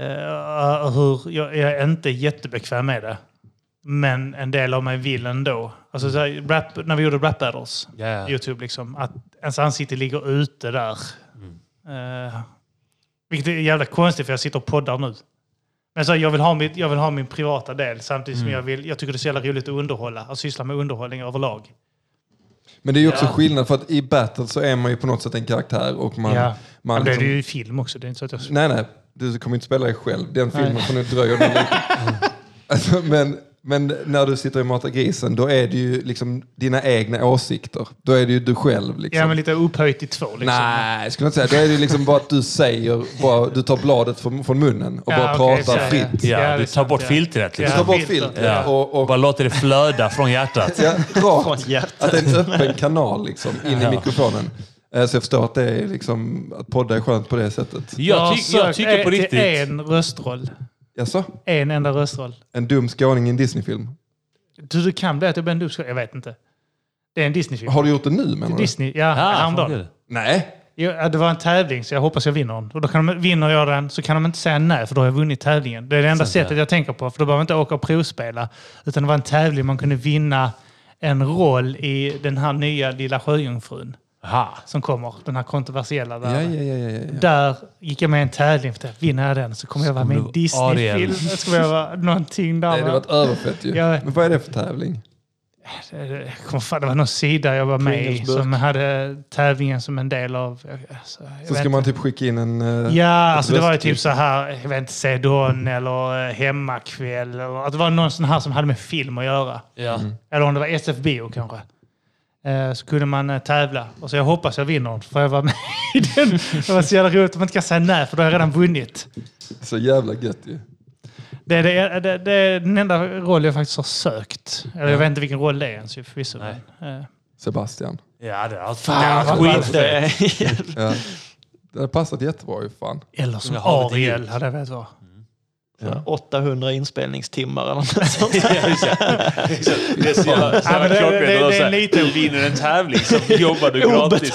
eh, hur, jag, jag är inte jättebekväm med det. Men en del av mig vill ändå. Alltså, så här, rap, när vi gjorde rap battles
Ja, ja.
Youtube. Liksom, att ens ansikte ligger ute där. Eh, vilket är jävla konstigt för jag sitter och poddar nu. Men så här, jag, vill ha mitt, jag vill ha min privata del samtidigt som jag, vill, jag tycker det är så jävla roligt att underhålla. Att syssla med underhållning överlag.
Men det är ju också
Ja.
skillnad för att i battle så är man ju på något sätt en karaktär och man...
ja.
man
Men det är
liksom-
ju i film också. Det är inte så att jag...
Nej, nej. Du kommer inte spela dig själv. Den filmen får nog dröja
<laughs>
dig lite. Alltså, men, men när du sitter och matar grisen, då är det ju liksom dina egna åsikter. Då är det ju du själv. Liksom.
Ja, men lite upphöjt i två. Liksom.
Nej, skulle jag inte säga. Då är det ju liksom bara att du säger, bara, du tar bladet från, från munnen och
Ja,
bara
okej,
pratar
så är det.
fritt.
Ja,
Ja, det
du tar
är sant,
bort
ja.
filtret
Du
liksom.
tar
Ja.
bort
filter.
filtret
Ja.
och,
Och
och
bara låter det flöda från
<laughs>
hjärtat.
ja,
Från
rakt
hjärtat.
Att det är en öppen kanal liksom, in i mikrofonen. Eh, Så jag förstår att det är liksom, att podda är skönt på det sättet.
Jag,
har
ty- jag
sökt
tycker på
till
riktigt...
eh, en röstroll.
Jaså?
En enda röstroll.
En dum skåning i en Disneyfilm?
Du, du kan bli att jag blir en dubskål. Jag vet inte. Det är en Disney-film.
Har du gjort det nu menar du?
Disney, ja.
Ah, fan,
häromdagen.
kul.
Nej.
Jo, ja, det var en tävling, så jag hoppas jag vinner den. Och då kan de, vinner jag den så kan de inte säga nej, för då har jag vunnit tävlingen. Det är det enda
Sant, ja.
sättet jag tänker på, för då behöver jag inte åka och provspela. Utan det var en tävling man kunde vinna en roll i den här nya Lilla Sjöjungfrun
Aha.
som kommer. Den här kontroversiella. Där,
Ja, ja, ja, ja, ja.
där gick jag med i en tävling, för tänkte, vinner jag den så kommer jag vara med i en
du vara Ariel.
Disney-film. Så kommer jag vara någonting där.
Nej, det
va?
var ett överfett ju.
Jag vet.
Men vad är det för tävling?
Jag kommer Eh, fan, det var någon sida jag var med i
Pringles-burk.
som hade tävlingen som en del av... Alltså, jag
Så
vet
ska man
inte.
typ skicka in en... eh,
Ja, alltså det var ju
röstklipp.
typ så här, jag vet inte, Sedon eller eh, Hemmakväll. Eller, att det var någon sån här som hade med film att göra.
Ja.
Eller om det var SF-bio kanske. Eh, Så kunde man eh, tävla. Och så jag hoppas jag vinner, för jag var med <laughs> i den. Det var så jävla roligt att man inte kan säga nej, för då har jag redan vunnit.
Så jävla gött ju.
Det är, det, det, det är den enda roll jag faktiskt har sökt. Eller jag vet inte vilken roll det är ens ju, förvisso.
Nej.
men, eh,
Sebastian.
Ja, det har
Fan,
det har
vad
varit
Det <laughs>
skitfett.
är,
Ja. Det hade passat jättebra ju fan.
Eller som
Jag har lite
Ariel
ljud.
hade jag velat vara.
Ja.
800 inspelningstimmar eller något <laughs> sånt.
Ja, exakt. Exakt. Det är så jävla så
Ja,
jävla
men det-
klockrent.
det- det-
Och
det är
så här,
lite-
Du vinner en tävling så jobbar
<laughs>
du gratis.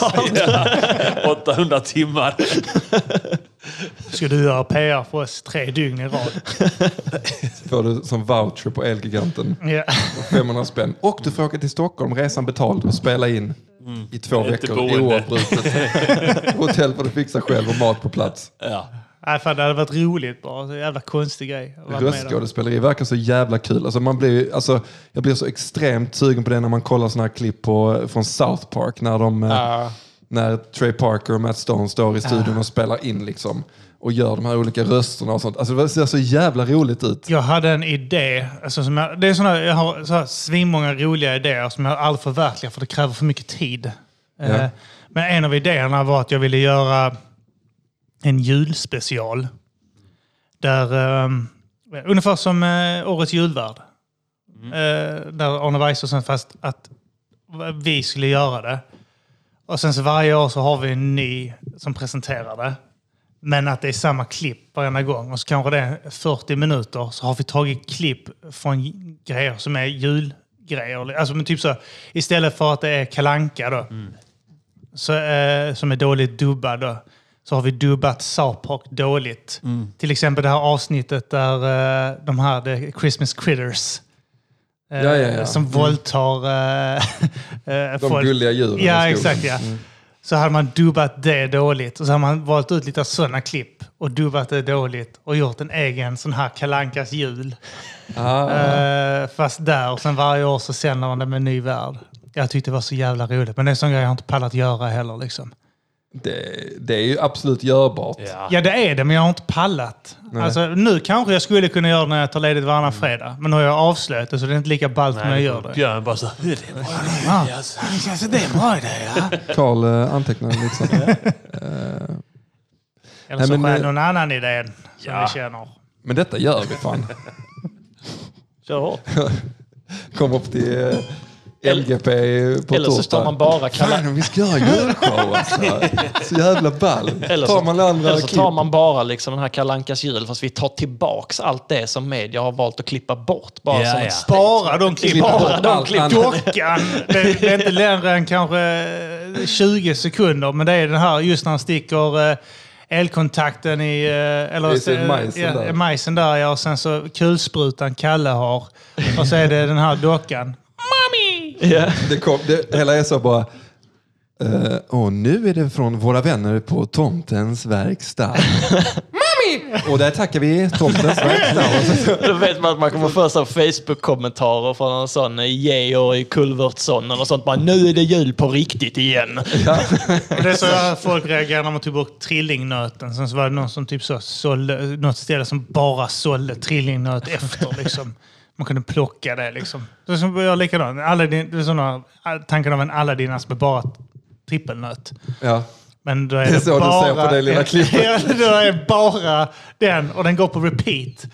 Ja. 800 timmar.
Ska du göra PR för oss tre dygn
<laughs>
i rad?
Får du som voucher på Elgiganten.
Ja.
500 spänn. Och du får åka till Stockholm, resan betald och spela in. i två
Inte
veckor
boende.
oavbrutet. <laughs> Hotell får du fixa själv och mat på plats.
Ja.
Nej, fan, det hade varit roligt bara. Så jävla konstig grej. att vara med om.
Röstskådespeleri verkar så jävla kul. Alltså man blir, ju- alltså, jag blir så extremt sugen på det när man kollar såna här klipp på, eh, från South Park. När, de, eh,
Ja.
när Trey Parker och Matt Stone står i studion
Ah.
och spelar in liksom, och gör de här olika rösterna och sånt. Alltså det ser så jävla roligt ut.
Jag hade en idé. Alltså som jag, det är såna, jag har så här svinmånga roliga idéer som jag aldrig förverkligar för det kräver för mycket tid. Eh, Men en av idéerna var att jag ville göra en julspecial. Där, eh, ungefär som eh, årets julvärd. Eh, där Arne Weise fast att vi skulle göra det. Och sen så varje år så har vi en ny som presenterar det. Men att det är samma klipp varenda gång. Och så kanske det är 40 minuter så har vi tagit klipp från grejer som är julgrejer. Alltså men typ så, istället för att det är kalanka då. Så, eh, som är dåligt dubbad då. Så har vi dubbat Sarpak dåligt. Till exempel det här avsnittet där eh, de här the Christmas critters. eh,
Ja, Mm. ja, ja.
Som våldtar eh, <laughs> eh,
De
folk.
gulliga djuren. i Mm.
Ja,
skogen.
exakt ja. Så hade man dubbat det dåligt och så hade man valt ut lite sådana klipp och dubbat det dåligt och gjort en egen sån här kalankas jul.
Ah,
Eh, fast där och sen varje år så sänder man det med en ny värld. Jag tyckte det var så jävla roligt men det är en sån grej jag inte pallat göra heller liksom.
det, det är ju absolut görbart.
Ja.
Ja det är det men jag har inte pallat. Alltså, nu kanske jag skulle kunna göra det när jag tar ledigt varannan
Mm.
fredag men nu har jag avslöjat det så det är inte lika ballt när jag gör det.
Björn bara så... "Det är bra."
Ja. Alltså, det är en bra idé ja.
Karl eh, antecknade lite sånt. Eh,
Eller
Nej,
så
men,
har jag
eh,
någon annan idé som
Ja.
jag känner.
Men detta gör vi fan.
Kör hårt.
Kom upp till eh, LGP på
Eller så står
torsdag.
man bara kalanka.
Fan, vi ska göra julshow alltså.
<laughs>
Så jävla ball.
Eller
tar
så,
man andra
eller så tar
klipp.
man bara liksom den här kalankas jul fast vi tar tillbaks allt det som media har valt att klippa bort. Bara
Ja,
som
ja.
ett steg.
Bara de klipp.
Klipper
bara
bort
de
allt
<laughs>
klipp.
annat.
Dockan. Det, det är inte längre än kanske 20 sekunder, men det är den här just när han sticker eh, elkontakten i... eh, Eller,
Det är så majsen
ja,
där.
majsen där, ja. Och sen så kulsprutan Kalle har. Och så är det den här dockan.
Ja. <laughs>
Det kom, det, hela är så bara... eh, och nu är det från våra vänner på Tomtens verkstad. <laughs> Mami! Och där tackar vi Tomtens verkstad. Och så,
Då vet man att man kommer få så här Facebook-kommentarer från någon sån eh, Georg Kulvertsson eller något sånt. Bara, nu är det jul på riktigt igen.
Och det är så här folk reagerar när man tog bort trillingnöten. Sen så var det någon som typ så sålde, något ställe som bara sålde trillingnöt efter. Liksom. Man kunde plocka det liksom. Det är som jag gör likadant. Aladdin, det är såna, tanken av en Aladdin-ask med bara trippelnöt.
ja.
Men då är
är
det,
så du
bara...
ser på det lilla
<laughs>
klippet.
Ja, då är bara den och den går på repeat.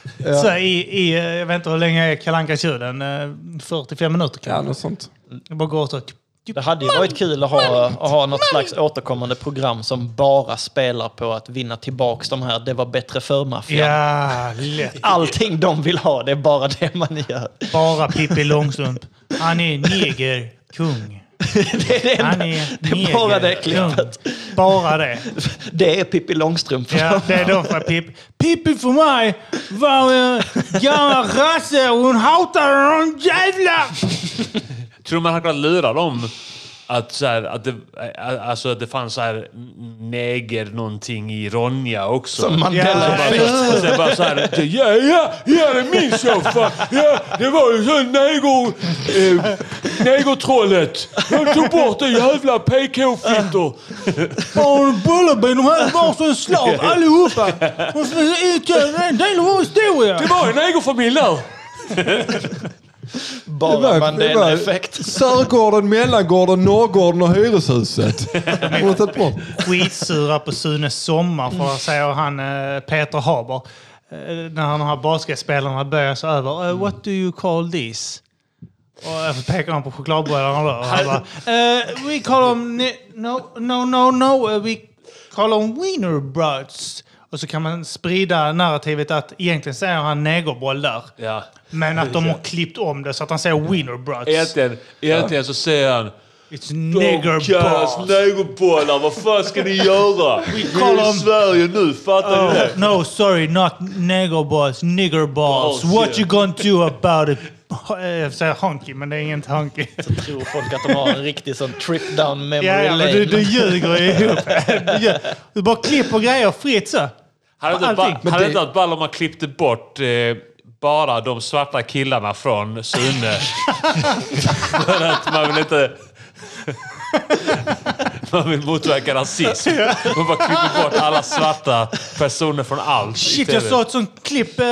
Så i, i, eh, jag vet inte hur länge är Kalle Ankas jul? En, eh, 45 minuter
ja,
kanske?
något sånt.
Jag bara går och
Det hade ju varit kul att ha, att ha något slags återkommande program som bara spelar på att vinna tillbaks de här Det var bättre förr-maffian.
Ja, lätt.
Allting de vill ha, det är bara det man gör.
Bara Pippi Långstrump. Han är neger, kung.
Det är det
Han
enda.
är
Det är bara det
neger, kung.
klippet.
Bara det.
Det är Pippi Långstrump.
Ja, det är då för Pippi. Pippi för mig var en gammal rasse. Hon hatade de jävla...
Tror man hade kunnat lura dem att, så här, att, det, ä- alltså, att det fanns så här neger någonting i Ronja också?
Som <laughs> Mandela
Och bara-
Ja.
och sen bara så här, ja, ja, ja, det minns jag fan. Ja, det var ju så neger, eh, negertrollet. De tog bort det jävla PK-fittor.
Barn och Bullerby, de hade varsin slav allihopa. De utgör en del av vår historia.
Det var en negerfamilj där.
Bara Mandela-effekt.
Sörgården, Mellangården, Norrgården och Hyreshuset. <laughs> Hon har tagit bort.
skitsura på Sune Sommar, för att säga han eh, Peter Haber. Eh, När han har basketspelarna böjer sig över. "Eh, What do you call this? Och så pekar han på chokladbollarna då. Och han bara, "Eh, we call them... ni- No, no, no, no. eh, We call them wiener brats. Och så kan man sprida narrativet att egentligen säger han negerboll där.
Ja.
Men att de har klippt om det så att han säger wiener brats.
Egentligen, egentligen så säger han...
It's nigger balls.
Negerbollar, vad fan ska ni göra? Vi
call
är i
them-
Sverige nu, fattar ni det?
No, sorry, not nigger balls, nigger balls.
Balls,
what
yeah.
you gonna do about it, Jag säger honky, men det är inget honky.
Så tror folk att de har en riktig sån trip down memory
Ja, ja,
lane.
men du, du ljuger ju ihop. Du, ljuger. du bara klipper grejer fritt så.
Hade det inte
Allting.
ba-
Men
hade
det-
inte varit ball om man klippte bort eh, bara de svarta killarna från Sune? <laughs> För att man vill inte... <laughs> Man vill motverka rasism. Man bara klipper bort alla svarta personer från allt. i
Shit,
TV.
jag såg ett sånt klipp. Eh,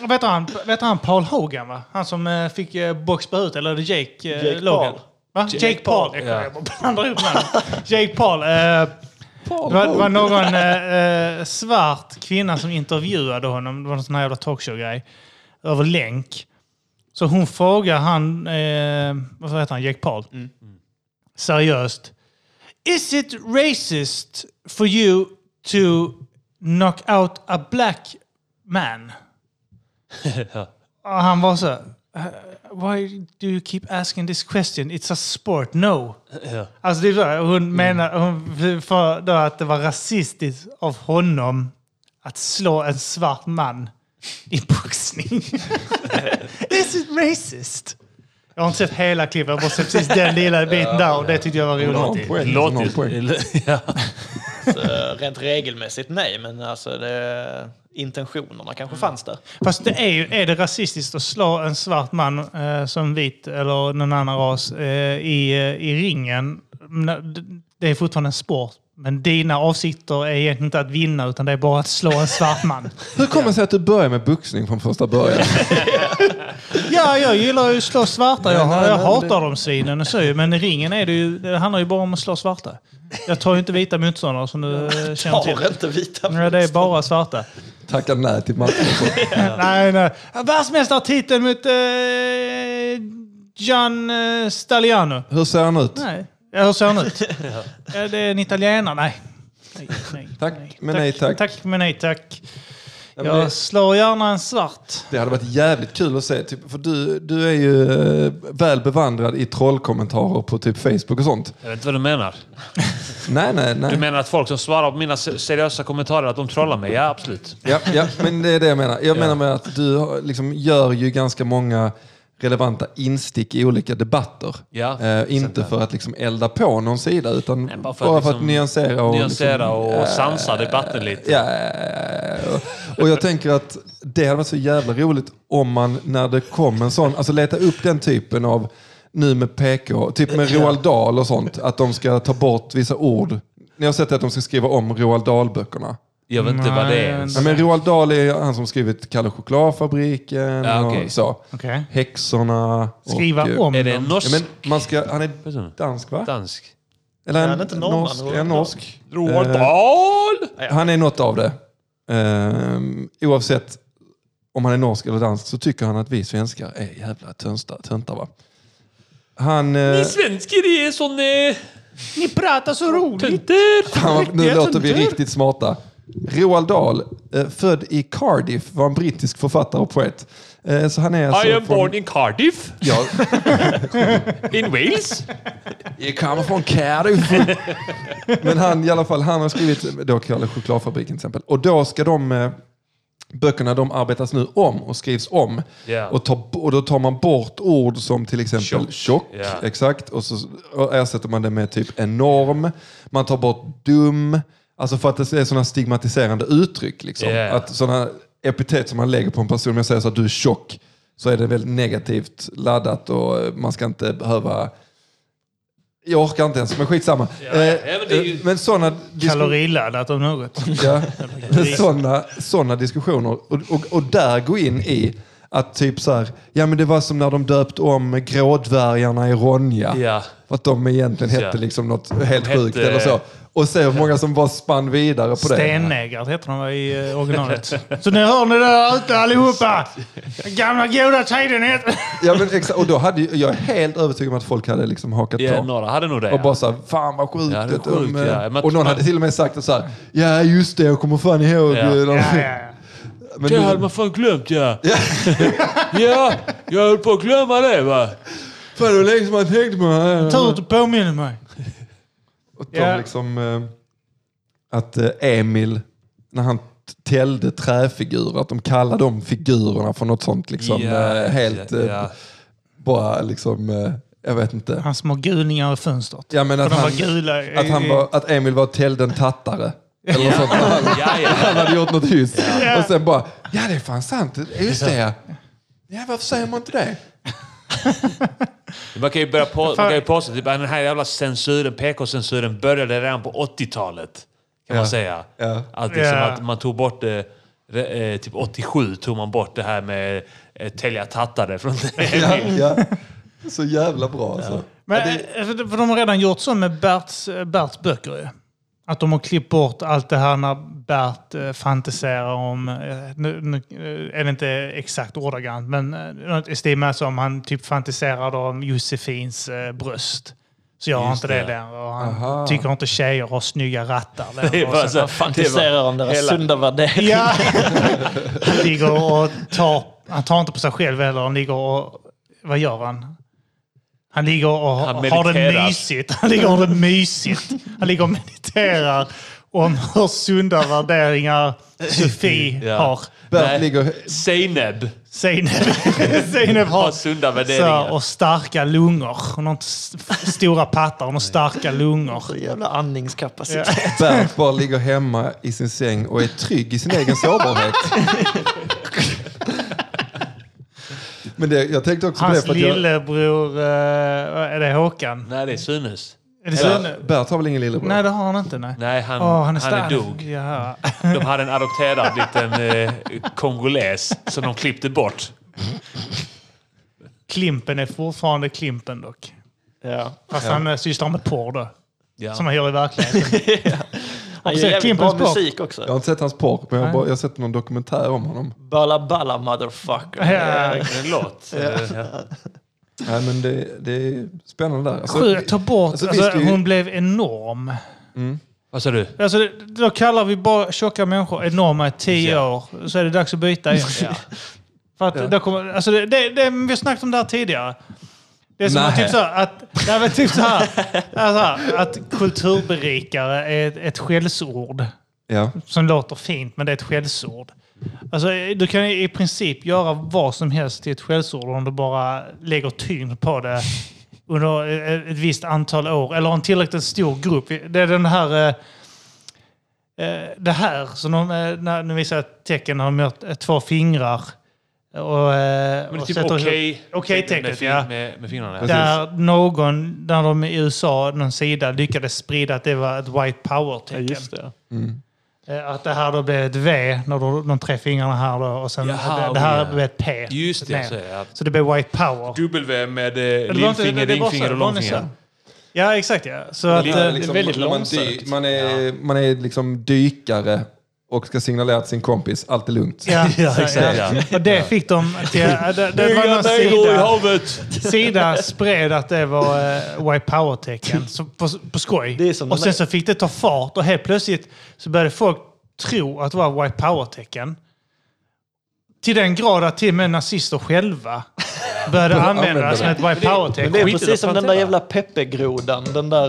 vad heter han? Vad heter han? Paul Hogan, va? Han som eh, fick eh, boxba ut, eller är det Jake, eh,
Jake
Logan?
Paul.
Va? Jake, Paul.
Paul.
Jag bara blandar ihop namnen. Jake Paul. Eh, Det var, det var någon eh, eh, svart kvinna som intervjuade honom. Det var en sån här jävla talkshow-grej. Över länk. Så hon frågar han, eh, vad heter han, Jake Paul. Seriöst. Is it racist for you to knock out a black man? Och han var så. "Uh, Why do you keep asking this question? It's a sport. No.
Ja.
Alltså det är så, här, hon menar hon, för då att det var rasistiskt av honom att slå en svart man i boxning. This is racist. Jag har inte sett hela klippet, jag har bara sett precis den lilla biten där och det tyckte jag var
Ja,
roligt.
poäng,
Låter
någon poäng.
ju... Ja.
Så, eh, rent regelmässigt nej, men alltså det, intentionerna kanske
Mm.
fanns där.
Fast det är ju, är det rasistiskt att slå en svart man eh, som vit eller någon annan ras eh, i, eh, i ringen? Men det- Det är fortfarande en sport. Men dina avsikter är egentligen inte att vinna utan det är bara att slå en svart man.
Hur kommer det sig att du börjar med boxning från första början?
Ja, jag gillar ju att slå svarta. Jag,
Nej, nej,
jag
nej,
hatar dem svinen och så ju. Men i ringen är det ju, det handlar ju bara om att slå svarta. Jag tar ju inte vita motståndare som du eh, känner till.
Har inte vita
Ja, det är bara svarta.
Tackar nej till matchen.
Nej, nej. Världsmästartiteln mot eh, Gian eh, Staliano.
Hur ser han ut?
Nej, ja, hur ser han
<laughs>
ut? ja. Det är en italienare. Nej. nej, nej
Tack, men nej tack.
Tack, men nej tack.
Ja, men
Jag
det,
slår gärna en svart.
det hade varit jävligt kul att se. Typ, för du, du är ju eh, väl bevandrad i trollkommentarer på typ Facebook och sånt.
Jag vet inte vad du menar.
Nej, nej, nej.
Du menar att folk som svarar på mina se- seriösa kommentarer, att de trollar mig? Ja, absolut.
Ja, ja, men det är det jag menar. Jag menar med att du har- liksom gör ju ganska många relevanta instick i olika debatter.
Ja,
eh, inte för att liksom elda på någon sida, utan bara för, att,
liksom
nyansera och...
Nyansera
liksom,
och sansa debatten lite.
Ja, och, och jag tänker att det hade varit så jävla roligt om man när det kom en sån, alltså leta upp den typen av, nu med PK, typ med Roald Dahl och sånt, att de ska ta bort vissa ord. Ni har sett att de ska skriva om Roald Dahl-böckerna.
Jag vet inte vad det är ens.
Ja, men Roald Dahl är han som skrivit Kalle Chokladfabriken
Ja, okej.
och så.
Okej.
Häxorna. och-
Skriva
eh,
om
Är det en
dem.
norsk?
Ja, men man ska, han
Person.
är dansk va?
Dansk?
Eller
han är inte norrman,
norsk.
Roald
Är han
Dahl.
norsk?
Roald
Eh,
Dahl!
Han är något av det. Ehm, oavsett om han är norsk eller dansk så tycker han att vi svenskar är jävla tönsta, töntar va? <laughs> Han... eh,
Ni svenskar är sån... Eh,
Ni pratar så roligt.
tönter.
Fan, vad- nu
Jag
låter vi
tror inte.
riktigt smarta. Roald Dahl, eh, född i Cardiff, var en brittisk författare och poet. Eh, så han är alltså
I am
från-
born in Cardiff,
Ja,
in
<laughs>
Wales.
Jag kommer från Cardiff. Men han i alla fall, han har skrivit då Kalle Chokladfabriken till exempel. Och då ska de eh, böckerna, de arbetas nu om och skrivs om.
Ja.
Och, tar, och då tar man bort ord som till exempel
Tjock.
tjock,
Ja.
exakt. Och så och ersätter man det med typ enorm. Man tar bort dum. Alltså för att det är sådana stigmatiserande uttryck. Liksom.
Ja.
Att sådana epitet som man lägger på en person, om jag säger så att du är tjock, så är det väldigt negativt laddat och eh, man ska inte behöva jag orkar inte ens, men skitsamma.
ja, ja, men det är ju-
Eh, men sådana
Kaloriladdat om något. <laughs>
ja, men såna, såna diskussioner, och, och, och där gå in i att typ så här, ja men det var som när de döpt om grådvärgarna i Ronja.
Ja.
För att de egentligen hette
Ja.
liksom något helt
hette-
sjukt eller så. Och se hur många som bara spann vidare på det.
Stennägare heter de va, i eh, originalet. Så nu hör ni det där ute allihopa! Gamla goda tiden heter...
Ja, men exa- och då hade ju, jag är helt övertygad om att folk hade liksom hakat
Ja,
på.
några hade nog det.
Och bara
Ja.
såhär, fan vad sjukt.
Ja, det är
att de,
sjukt,
eh,
ja. Men-
Och någon hade till och med sagt såhär, ja just det, jag kommer fan ihåg.
Ja.
eh, de-
Ja, ja, ja.
Men
Det
nu-
hade man fan glömt ja. <laughs> ja, jag höll på att glömma det va.
Fan, det var länge sedan man tänkte på det.
Tur att du påminner mig.
Och de
Ja.
liksom, eh, att eh, Emil, när han täljde träfigurer, att de kallar de figurerna för något sånt liksom
Ja,
eh, helt,
ja,
eh,
ja.
bara liksom, eh, jag vet inte.
Hans små gulningar i fönstret.
Ja, men
Och
att,
de
han,
var gula. i-
att, han var, att Emil var tälden tattare. Eller något sånt. Han,
<laughs> Ja,
han
ja.
hade gjort något hyss. Och sen bara, ja det är fan sant, just det. Ja, varför säger man inte det?
Man kan ju börja på, man kan ju påstå typ, att den här jävla censuren, PK-censuren började redan på 80-talet. Kan man säga.
Ja.
Att, liksom,
Ja.
att man tog bort det. re- eh, Typ 87 tog man bort det här med eh, tälja tattare
<laughs>
från
Ja, ja. Så jävla bra alltså.
Men, eh, för för de har redan gjort så med Berts, eh, Berts böcker ju. Att de har klippt bort allt det här när Bert eh, fantiserar om, eh, nu, nu eh, är det inte exakt ordagrant, men eh, något i stil med som han typ fantiserade om Josefins eh, bröst. Så jag har
Just
inte det
det.
längre. Och han
Aha.
tycker inte tjejer har snygga rattar
<laughs> Det
längre.
är
Och
bara
så-
så-
Jag fantiserar om deras
hela-
sunda värderingar.
Ja. <laughs> Han ligger och tar... Han tar inte på sig själv heller. Han ligger och... Vad gör han? Han ligger och
Han
har det
mediterar.
mysigt. Han ligger och har det mysigt. Han ligger och mediterar om hur sunda värderingar Sofie
Ja.
har.
Nej.
Bert ligger
Zeynep
Zeynep
<laughs>
Zeynep
har
har
sunda
så, här,
värderingar.
och starka lungor. Hon har inte s- stora pattar, hon har starka lungor.
Så jävla andningskapacitet.
Bert bara ligger hemma i sin säng och är trygg i sin egen sårbarhet. Men det, jag tänkte också på det.
Hans
För att jag,
lillebror, eh, vad är det Håkan?
Nej, det är Sunes.
Är det Sune?
Bert, Bert har väl ingen lillebror?
Nej, det har han inte. Nej.
Nej, han,
Åh,
han, är
stark.
dog.
Ja.
De hade en adopterad liten eh, kongoles som de klippte bort.
Klimpen är fortfarande Klimpen dock.
Ja.
Fast han sysslar med porr då.
Ja.
Som han gör
<laughs>
i verkligheten.
Han
sen
gör jävligt
Klimpens
bra
bak.
musik
Jag
också.
har inte sett hans porr, men jag har, bara, jag har sett någon dokumentär om honom.
Balla balla motherfucker.
Alltså,
Ja.
En låt. Eh, ja.
Nej, men det, det är spännande där. Alltså,
Sjukt, ta bort...
alltså,
Alltså,
visst, det är ju-
hon blev enorm.
Vad sa du?
Alltså, det- då kallar vi bara tjocka människor enorma i tio
Ja.
år. Så är det dags att byta igen.
<laughs> Ja.
För att då kommer, alltså det, det, det, vi har snackat om det här tidigare. Det är som
Nej.
att, typ så här, att, nej, men typ så här, alltså, att kulturberikare är ett, ett skällsord.
ja.
som låter fint, men det är ett skällsord. Alltså, du kan i princip göra vad som helst till ett skällsord om du bara lägger tyngd på det under ett visst antal år. Eller en tillräckligt stor grupp. Det är den här... eh, eh, Det här, som de, eh, när- nu visar jag ett tecken, har de gjort eh, två fingrar. Och, eh,
Men det är
och
typ
sätter-
okej.
Okej-tecket,
med, fin-
ja.
Med, med fingrarna.
Precis.
Där någon, när de i USA, någon sida, lyckades sprida att det var ett white power-tecken.
Just det.
Eh, Att det här då blev ett V, när du, de tre fingrarna här då, och sen
Jaha,
det, det här
ja.
blev ett P.
Just det,
ner.
så är det, ja.
Så det blev white power.
W med eh,
Eller var inte-
lillfinger,
det- det var så,
ringfinger och
det var nästan.
långfinger.
Ja, exakt ja. Så att,
lite-
eh,
liksom,
väldigt
när man,
långsökt.
dy- man, är, man är liksom dykare och ska signalera till sin kompis, allt är lugnt.
ja,
<laughs> Ja,
så,
exakt,
ja.
ja.
Och det fick de... Till, eh, det, det var någon
i
sida,
havet!
sida spred att det var eh, white power-tecken så på, på skoj.
Det är som
och
de
sen
där-
så fick det ta fart och helt plötsligt så började folk tro att det var white power-tecken. Till den grad att till och med nazister själva
<laughs>
började använda
använda
det som ett white
Men det är
power-tecken.
Skit i det,
precis som den där
plantera.
jävla Peppe-grodan. Den där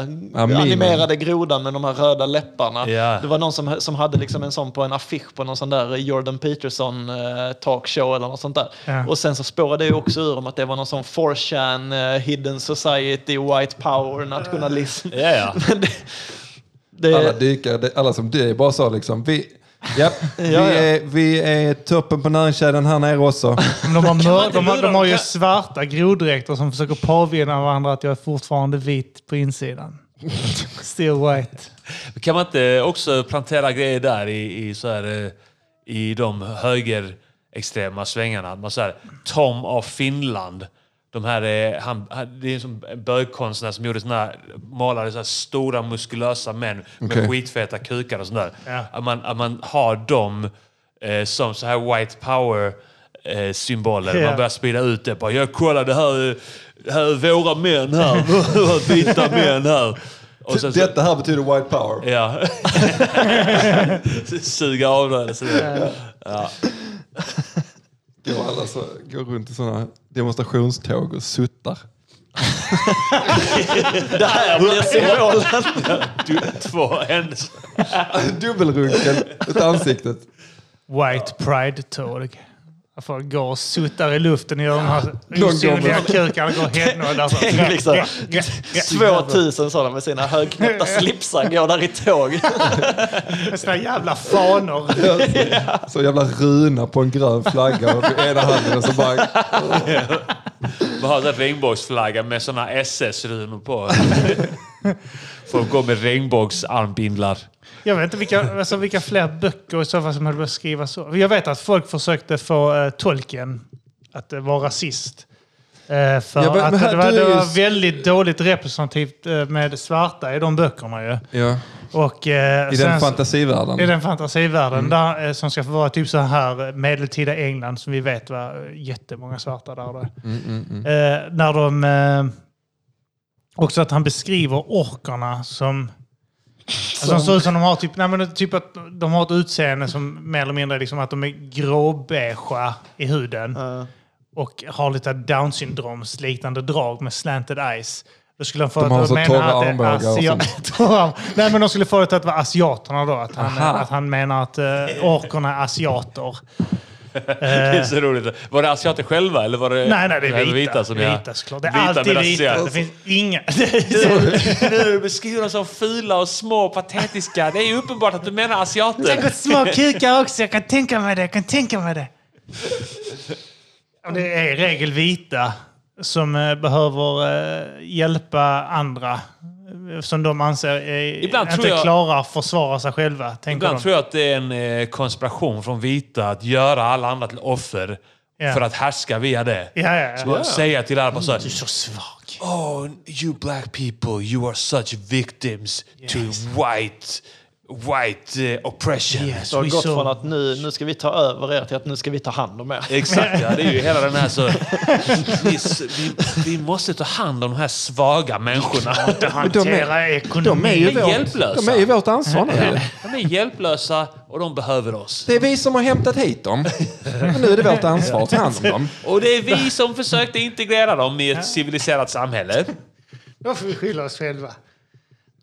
eh,
mimen.
animerade grodan med de här röda läpparna.
Ja.
Det var någon som, som hade liksom en sån på en affisch på någon sån där Jordan Peterson eh, talkshow eller något sånt där.
Ja.
Och sen så spårade det ju också ur om att det var någon sån 4chan, eh, hidden society, white power, nationalism.
Ja, ja.
<laughs> Men det, det,
Alla dykare, det- alla som dyr, bara sa liksom, vi, japp, vi,
ja.
Är, vi är toppen på näringskedjan här nere också.
Men De har, mör,
inte
de, har,
lura
de har
dem,
ju
kan-
svarta groddräkter som försöker påvinna varandra att jag är fortfarande vit på insidan.
<laughs>
Still white.
Kan man inte också plantera grejer där i, i, så här, eh, i de högerextrema svängarna? Att Man så här, Tom av Finland. De här, eh, han, han, det är en sån bögkonstnär som gjorde såna här, malade så här stora muskulösa män
Okej.
med skitfeta kukar och sånt där.
Ja.
Att, man, att man har dem eh, som så här white power eh, symboler.
Ja.
Man börjar sprida ut det. Bara, jag kollar det här, det här är våra män här. <laughs> Vita män här. Och sen så-
Detta här betyder white
<laughs>
power.
Ja. Suga av den. Så det.
Går alla så, går runt i sådana demonstrationståg och suttar.
Det här blir symbolen.
Du, två händelser.
Dubbelrunken åt <laughs> ansiktet.
White Pride-tåg. Där Folk går och suttar i luften och gör de här
går
osynliga
med-
kukarna. Går
<laughs>
hemma och
Tänk liksom, 2000 sådana med sina högknäppta slipsar går där i tåg.
Såna jävla fanor.
Så jävla runa på en grön flagga och i ena handen och så bara...
Man har en regnbågsflagga med såna SS-runor på. Folk går med regnbågsarmbindlar.
Jag vet inte vilka, alltså, vilka fler böcker i så fall som höll på att skriva så. Jag vet att folk försökte få eh, tolken att eh, vara rasist. Eh, för
Ja, men-
att
men här-
det, var,
du är
det
ju-
var väldigt dåligt representativt eh, med svarta i de böckerna ju.
Ja,
Och, eh,
I
sen
den
så- I
fantasivärlden.
den fantasivärlden där, eh, som ska få vara typ så här eh, medeltida England som vi vet var eh, jättemånga svarta där. Då. Eh, när de... Eh, också att han beskriver orkarna som... Alltså, de ser ut som de har typ, nej, men typ att de har ett utseende som mer eller mindre liksom att de är gråbeiga i huden
Eh,
och har lite down syndroms liknande drag med slanted eyes. Då skulle han få
De har
att
så
mena
torra
att det är
armbågar och
asiat- <laughs> torra arm- Nej, men de skulle få det till att vara asiaterna då. Att han,
Aha.
att han menar att eh, orkerna är asiater.
Det är så roligt. Var det asiater själva eller var det,
Eh. Nej, nej, det är vita.
som
det är
jag...
vita såklart. Det är
Vita
alltid
medan
vita.
asiater-
<laughs> Det finns inga...
Du beskriver dem som fula och små och patetiska. Det är ju uppenbart att du menar asiater.
Säkert små kukar också. Jag kan tänka mig det. Jag kan tänka mig det. Och Det är i regel vita som eh, behöver eh, hjälpa andra eh, som de anser eh,
Ibland
inte
tror jag-
klarar försvara sig själva. Tänker
Ibland
de.
tror jag att det är en eh, konspiration från vita att göra alla andra till offer
Ja.
för att härska via det.
Ja, ja, ja.
Och säga till alla bara så här,
Så svag.
Oh, you black people, you are such victims to white, white eh, oppression.
Yes,
Så har
we
<laughs> det gått från
saw.
att nu, nu ska vi ta över er till att nu ska vi ta hand om er.
Exakt, ja. Det är ju hela den här
<laughs>
så... Vi, vi, vi måste ta hand om de här svaga människorna.
Hantera ekonomin.
De är ju
De är
vårt,
hjälplösa.
de är ju vårt ansvar nu.
De är hjälplösa och de behöver oss.
Det är vi som har hämtat hit dem. Men nu är det vårt ansvar att ta hand om dem.
Och det är vi som försökte integrera dem i ett civiliserat samhälle.
Då får vi skylla oss själva.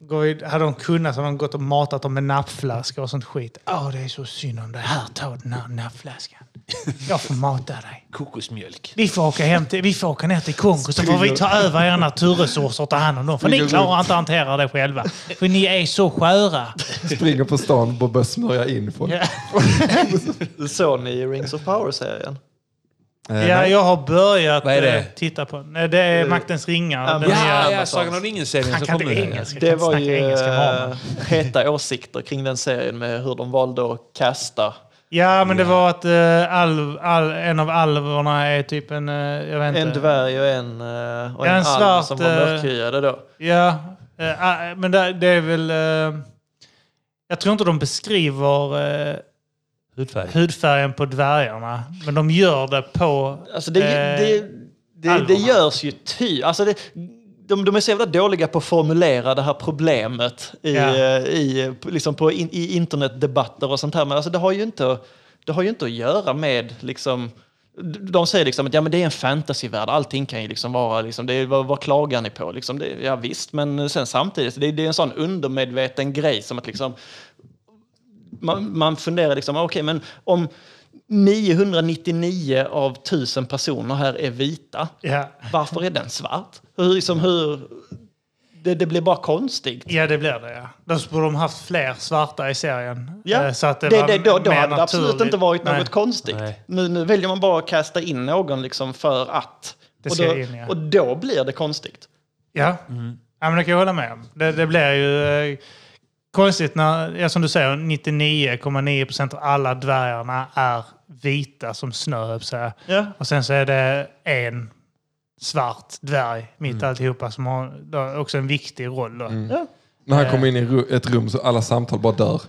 Går vi, hade de kunnat så hade de gått och matat dem med nappflaskor och sånt skit. Åh, det är så synd om det här. Ta den här nappflaskan. Jag får mata dig.
Kokosmjölk.
Vi får åka, hem till, vi får åka ner till Kongo så får vi ta över era naturresurser och ta hand om dem. För ni klarar inte att hantera det själva. För ni är så
Eh,
sköra.
Springer på stan och börjar smörja in folk.
Såg ni Rings of Power-serien?
Eh,
Ja, jag har börjat
Vad är det?
eh, titta på Nej, Det är Maktens ringar. Den
Ja,
Ja,
nya-
ja,
Amazons.
Sagan om ringen-serien
Han
som
kan
kom
inte
nu.
engelska.
Det
kan
var
inte
ju
snacka engelska med honom.
eh, heta åsikter kring den serien med hur de valde att kasta.
Ja, men det var att eh, alv, all, en av alverna är typ en... eh, jag vet
En
inte.
dvärg och en, eh, och
Ja,
en,
en svart,
alv som var
eh,
mörkhyade då.
Ja, eh, ah, men det, det är väl... eh, jag tror inte de beskriver eh,
Hudfärg.
hudfärgen på dvärgarna, men de gör det på...
Alltså det,
eh,
det, det, det
alverna.
görs ju ty... Alltså det, de, de är så jävla dåliga på att formulera det här problemet i,
Ja.
eh, i, eh, liksom på in, i internetdebatter och sånt här. Men alltså det, har ju inte, det har ju inte att göra med... Liksom, de säger liksom att ja, men det är en fantasyvärld, allting kan ju liksom vara... Liksom, det är, vad, vad klagar ni på? Liksom, det, ja visst, men sen samtidigt, det, det är en sån undermedveten grej som att liksom, man, man funderar liksom, okej, men om 999 av 1000 personer här är vita,
Ja,
varför är den svart? Hur, liksom, hur, det, det blir bara konstigt.
ja, det blir det. Ja. Då borde de haft fler svarta i serien.
Ja.
eh, Så att det
det,
var
det, då då
mer
hade det absolut
naturligt.
inte varit
Nej.
något konstigt.
Nej.
Nu, nu väljer man bara att kasta in någon liksom för att.
Det
och,
ska
då,
in, ja.
och då blir det konstigt.
Ja. ja, men det kan jag hålla med om. Det, det blir ju eh, konstigt när, ja, som du säger, 99,9% av alla dvärgarna är vita som snö, höll jag på att säga.
Ja.
Och sen så är det en svart dvärg mitt alltihopa som har då, också en viktig roll. Då.
När
Eh.
han kommer in i ru- ett rum så alla samtal
<laughs>
bara dör.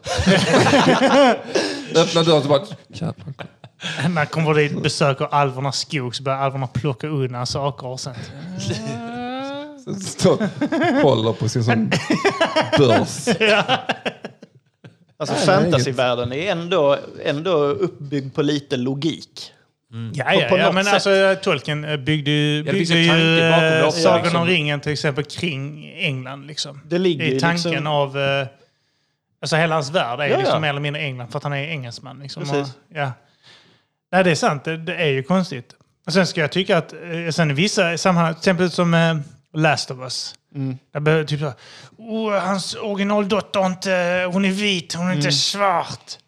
Öppna dörren så bara... Jävlar.
När kommer det dit besöker alvernas skog så börjar alverna plocka undan saker och sånt.
Står, håller på sin sån börs.
Alltså
det är inget.
fantasyvärlden är ändå, ändå uppbyggd på lite logik.
Ja,
Mm.
ja,
på
ja
något
men
sätt.
alltså Tolkien eh, byggde ju,
det finns en
byggde
tanke
ju
bakom det
eh,
också,
Sagan
liksom.
om ringen till exempel kring England. Liksom.
Det ligger
I
ju
tanken
liksom-
av... eh, Alltså hela hans värld är ju
Ja, ja.
liksom mer eller mindre England för att han är engelsman. Liksom. Och,
Precis.
ja. Nej, det är sant. Det, det är ju konstigt. Och sen ska jag tycka att eh, sen i vissa sammanhang, till exempel som eh, Last of Us. Jag behöver typ så, oh, hans originaldotter, har inte, hon är vit, hon är
Mm.
inte svart.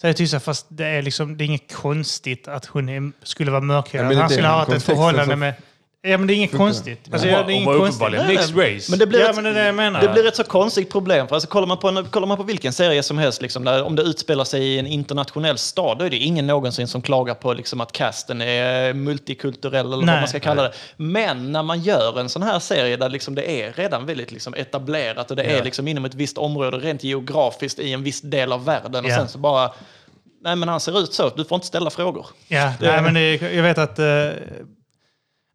Så jag tycker så här, fast det är, liksom, det är inget konstigt att hon är, skulle vara
Ja,
mörkhyad.
men det
han
är alltså.
skulle
den
ha haft ett
kontexten
förhållande
som-
med... Ja, men det är inget konstigt. Alltså, ja, det är
Hon var
inget konstigt.
uppenbarligen mixed race.
Men det blir
ja,
ett-
men det är det jag menar.
Det blir ett så konstigt problem. För alltså, kollar, man på en, kollar man på vilken serie som helst, liksom, där, om det utspelar sig i en internationell stad, då är det ingen någonsin som klagar på liksom, att casten är multikulturell eller
Nej.
vad man ska kalla det. Men när man gör en sån här serie där liksom, det är redan väldigt liksom, etablerat och det är liksom, inom ett visst område rent geografiskt i en viss del av världen och
Ja.
sen så bara Nej men han ser ut så, du får inte ställa frågor.
Ja, nej, men det, är- jag vet att eh,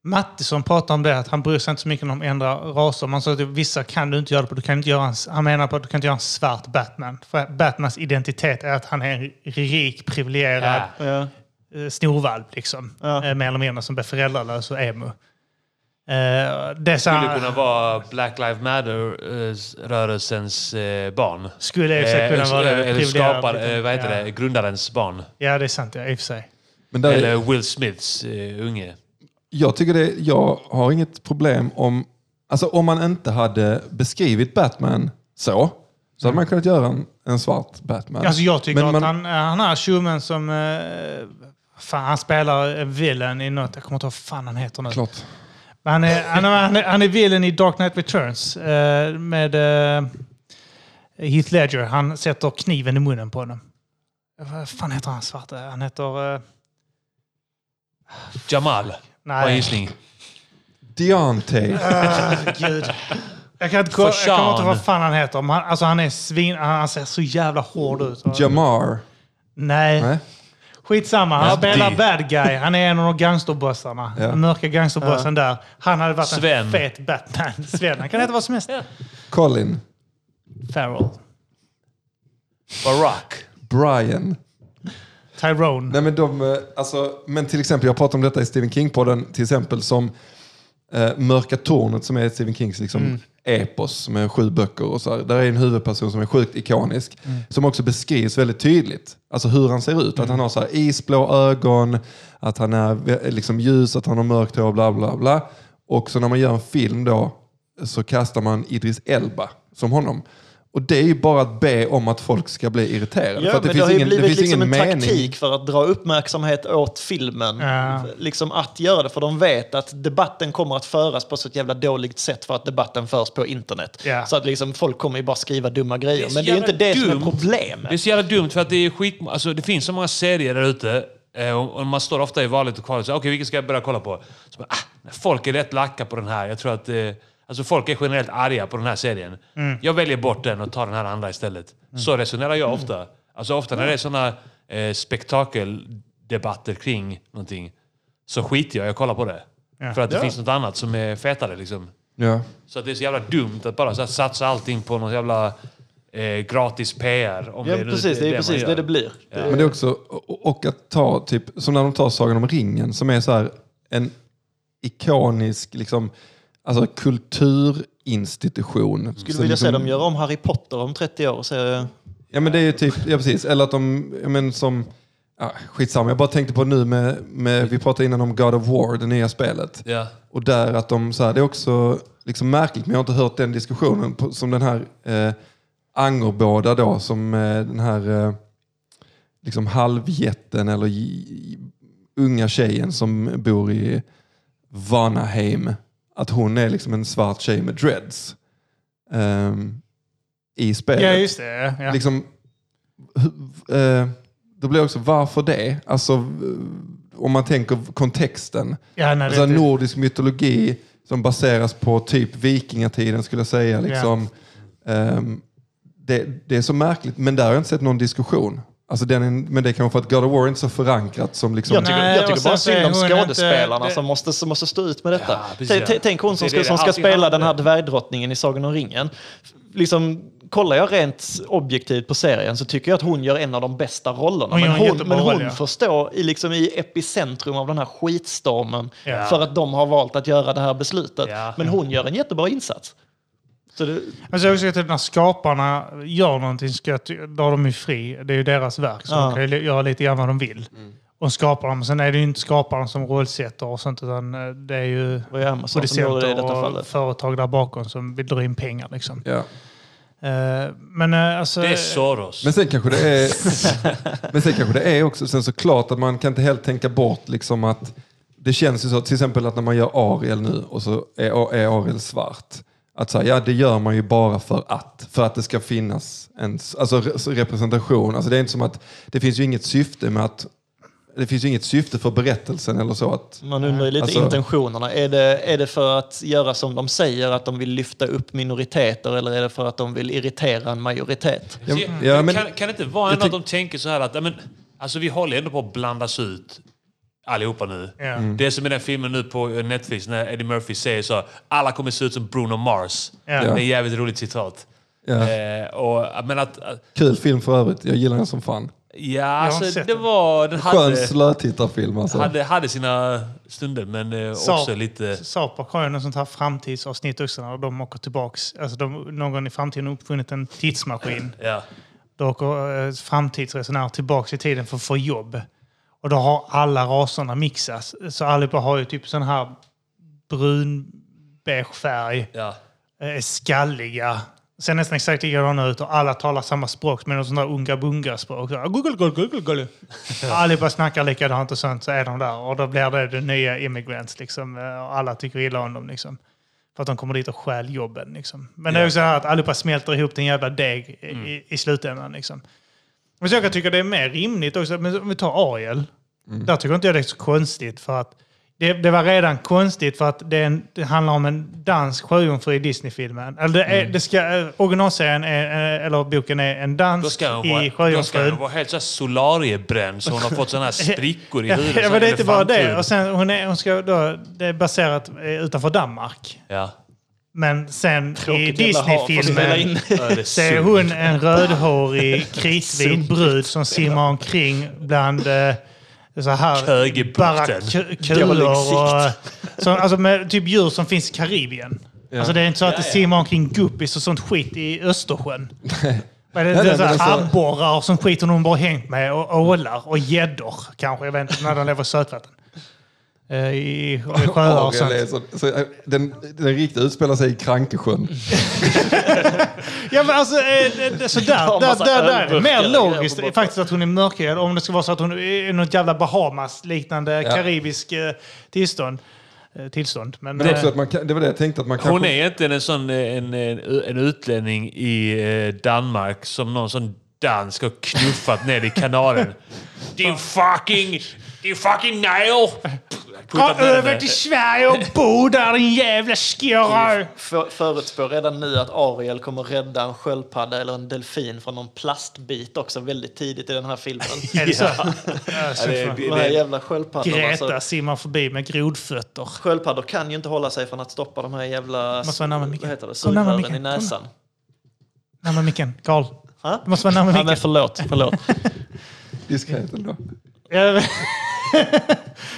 Mattisson pratar om det, att han bryr sig inte så mycket om att ändra raser. Man sa att vissa kan du inte göra det på. Du kan inte göra en, han menar på att du kan inte göra en svart Batman. För Batmans identitet är att han är en rik, privilegierad
Ja.
eh, snorvalp, liksom.
Ja.
Eh, mer eller mindre, som blev föräldralös och emo. Eh, det
skulle
skulle
kunna vara Black Lives eh, Matter-rörelsens eh, barn.
skulle i och för sig kunna
Eh,
vara det.
eller
privilegierad-
skapar, eh, vad heter
ja.
det, grundarens barn.
Ja, det är sant. Ja, i och för sig.
Men där,
Eller Will Smiths eh, unge.
Jag tycker det, jag har inget problem om, alltså om man inte hade beskrivit Batman så, så hade man kunnat göra en, en svart Batman.
Mm. Alltså jag tycker
Men
att
man-
han, han är tjommen som... Eh, fan, han spelar en villain i något. Jag kommer inte ihåg vad fan han heter nu.
Klart.
Men han, är, han, är, han, är, han är villain i Dark Knight Returns eh, med eh, Heath Ledger. Han sätter kniven i munnen på honom. Eh, Vad fan heter han svarta? Han heter... Eh,
Jamal. Var en
nej,
gissning.
Deontay.
gud. Jag kan inte ko- jag
Fashan.
kommer inte ihåg vad fan han heter. Men han, alltså han är svin... Han, han ser så jävla hård ut.
Jamar.
nej.
Nej.
Skitsamma, han
Abdi.
spelar bad guy. Han är en av de gangsterbossarna.
Ja.
Den mörka gangsterbossen där. Han hade varit
Sven.
en fet Batman. <laughs> Sven. Han kan heta vad som helst.
Colin.
Farrell.
Barack.
Brian.
Tyrone.
Nej, men, de, eh, alltså, men till exempel, jag pratade om detta i Stephen King-podden, till exempel som eh, Mörka Tornet som är Stephen Kings liksom,
Mm.
epos som är sju böcker. Och så här. Där är en huvudperson som är sjukt ikonisk.
Mm.
Som också beskrivs väldigt tydligt. Alltså hur han ser ut. Att han har så här isblå ögon, att han är vä- liksom, ljus, att han har mörkt hår, bla bla bla. Och så när man gör en film då så kastar man Idris Elba som honom. Och det är ju bara att be om att folk ska bli irriterade.
Ja,
för att det
men det
finns
har ju
ingen, det
blivit
finns
liksom en
ingen mening.
taktik för att dra uppmärksamhet åt filmen.
Ja.
Liksom att göra det, för de vet att debatten kommer att föras på så ett jävla dåligt sätt för att debatten förs på internet.
Ja.
Så att liksom folk kommer ju bara skriva dumma grejer.
är så
men det är ju inte
jävla
det som är
dumt.
problemet.
Det är så jävla dumt för att det är skit... Alltså, det finns så många serier där ute eh, och och man står ofta i valet och kvalet och säger okej, vilken ska jag börja kolla på? Så bara, ah, folk är rätt lacka på den här. Jag tror att... Eh, alltså folk är generellt arga på den här serien. Jag väljer bort den och tar den här andra istället. Så resonerar jag ofta. Alltså ofta när det är såna eh, spektakeldebatter kring någonting så skiter jag jag kollar på det.
Ja.
För att det
Ja.
finns något annat som är fetare liksom.
Ja.
Så att det är så jävla dumt att bara så här satsa allting på någon jävla eh, gratis PR. Om
Ja,
det är nu
precis, det är
man
precis
gör.
det det blir. Det-
Men det är också, och- och att ta, typ, som när de tar Sagan om ringen, som är så här en ikonisk liksom, alltså, kulturinstitution.
Skulle
Som
vilja
liksom,
se dem göra om Harry Potter om 30 år och se...
Ja men det är ju typ, ja precis, eller att de, ja, men som, ja, skitsamma, jag bara tänkte på nu med, med, vi pratade innan om God of War, det nya spelet.
Ja.
Och där att de, så här, det är också liksom märkligt, men jag har inte hört den diskussionen på, som den här eh, Angerbåda då, som eh, den här eh, liksom halvjätten eller j- j- unga tjejen som bor i Vanaheim. Att hon är liksom en svart tjej med dreads. ehm, I spelet.
Ja, just det. Ja.
liksom, hu- eh, då blir det också, varför det? Alltså, eh, om man tänker kontexten.
Ja, nej,
Alltså
det, det,
nordisk mytologi som baseras på typ vikingatiden skulle jag säga. Liksom. Ehm, det, det är så märkligt, men där har jag inte sett någon diskussion. Alltså den är, men det är kanske för att God of War är inte så förankrat som liksom...
Jag tycker,
Nej,
jag
och
tycker
sen
bara
så är
synd om
hon inte-
skådespelarna
det-
som, måste, som måste stå ut med detta.
Ja, precis,
Tänk-
ja.
tänk- Tänk hon
Det
som
är
ska,
det
som
det
ska
alltid
spela den här
handlar
dvärgdrottningen i Sagan om ringen. Liksom, kollar jag rent objektivt på serien så tycker jag att hon gör en av de bästa rollerna.
Hon gör
men
en
hon,
jättebra
men hon
roll, ja.
får stå i, liksom, i epicentrum av den här skitstormen
Ja.
för att de har valt att göra det här beslutet.
Ja.
Men hon gör en jättebra insats. Så det,
Alltså jag tycker typ när skaparna gör någonting ska jag, ty- då har de ju fri. Det är ju deras verk så
Ja.
de kan ju li- göra lite grann vad de vill. Och skapar dem. Sen är det ju inte skaparen som rollsätter och sånt utan eh, det är ju
var ju Amazon som gjorde det i
producenter
detta
och
fallet.
företag där bakom som vill dra in pengar liksom.
Ja.
Eh, Men eh, alltså...
Det är Soros.
Men sen kanske det är... men sen kanske det är <laughs> också... Sen såklart att man kan inte helt tänka bort liksom att... Det känns ju så till exempel att när man gör Ariel nu och så är, är Ariel svart. Att säga ja det gör man ju bara för att. För att det ska finnas en s- alltså, re- så representation. Alltså, det är inte som att det finns ju inget syfte med att... Det finns ju inget syfte för berättelsen eller så att...
Man undrar ju lite
Alltså-
intentionerna. Är det, är det för att göra som de säger, att de vill lyfta upp minoriteter eller är det för att de vill irritera en majoritet?
Ja,
Kan-
ja, men,
Mm. kan, kan det inte vara ändå
tyck-
att de tänker så här att ja, men, alltså, vi håller ändå på att blandas ut allihopa nu.
Ja.
Det är som i den filmen nu på Netflix när Eddie Murphy säger så här, alla kommer se ut som Bruno Mars.
Ja.
Det är ett jävligt roligt citat.
ja.
Eh, och, men att, att-
Kul film för övrigt. Jag gillar den som fan.
ja,
inte
alltså,
sett
det
den.
var... Den
Skön
hade,
slötittarfilm alltså.
hade, hade sina stunder, men eh,
Sa-
också lite...
Sapak har ju något sånt här framtidsavsnitt också när de åker tillbaks. Alltså de, någon i framtiden har uppfunnit en tidsmaskin.
Ja.
Då åker eh, framtidsresenärer tillbaks i tiden för att få jobb. Och då har alla raserna mixats. Så allihopa har ju typ sån här brun beige färg.
ja.
eh, Är skalliga. Ser nästan exakt likadana ut och alla talar samma språk men något sånt där unga bunga språk. Så här, Google, google, google, google. Allihopa snackar likadant och sånt så är de där. Och då blir det de nya immigrants liksom. eh, Och alla tycker illa om dem liksom. För att de kommer dit och stjäl jobben liksom. Men det är ju så här att allihopa smälter ihop till en jävla deg i,
Mm.
i, i slutändan liksom. Men så jag kan tycka det är mer rimligt också. Men om vi tar Ariel.
Mm.
Där tycker inte jag det är så konstigt för att det, det var redan konstigt för att det, är en, det handlar om en dansk sjöjungfru i Disney-filmen. Eller det är,
Mm.
det ska, eh, originalserien är, eh, eller boken är en
Då
dansk
ska hon
i
vara, då ska
sjöjungfru.
hon vara helt så här solariebränd så hon har fått såna här sprickor i
<laughs> Ja,
huvudet.
ja,
så
men det är inte bara det. Alltså,
elefanthuvud.
Och sen, hon är, hon ska då, det är baserat eh, utanför Danmark. <laughs>
Ja.
Men sen i
Tråkigt jävla hav för att spela
Disney-filmen
in.
Ja, det är
så är
sunt.
hon en
<laughs>
rödhårig kritvit brud som simmar omkring bland eh, så här
Kögebukten.
barackkulor
Dålig
och så, alltså med typ djur som finns i Karibien. Alltså det är inte så att det
Ja, ja.
simmar omkring guppis och sånt skit i
<laughs>
Östersjön. Men det,
Nej,
det är
nej,
så
men
här
alltså-
abborrar och sånt skit hon har bara hängt med och ålar och gäddor kanske. Jag vet inte när de lever i sötvatten. Eh, I, i sjöar och sånt.
Ariel är så, så, eh, den, den riktigt utspelar sig i Krankesjön.
Ja men alltså, eh, det- det- så där,
Ja,
där,
massa
där, där. är det Mer
ölburkar och
logiskt
grejer på
är faktiskt att hon är mörkhyad. Om det ska vara så att hon är något jävla Bahamas-liknande
Ja.
karibisk eh, tillstånd. Eh, tillstånd. Men,
Men också
eh,
att man kan, det var det jag tänkte att man kanske...
Hon är egentligen en sån eh, en, en, en utlänning i eh, Danmark som någon sån dansk har knuffat ner i
<laughs>
kanalen. Din fucking... Din fucking nail!
Dra över till Sverige och bo där din jävla skorrar!
För, förutspår redan nu att Ariel kommer rädda en sköldpadda eller en delfin från någon plastbit också väldigt tidigt i den
<laughs>
här filmen.
Är det så?
Ja, det är- det-
De här
det-
jävla sköldpaddorna.
Greta
Alltså,
simmar förbi med grodfötter.
sköldpaddor kan ju inte hålla sig från att stoppa de här jävla
Måste vara närmare micken.
vad heter det,
Kom närmare
sugrören i
micken. Kom
näsan.
Närmare micken. Carl.
Ha?
Du måste vara närmare
Ja, men
micken.
förlåt, förlåt.
<laughs>
Diskret ändå.
Jag-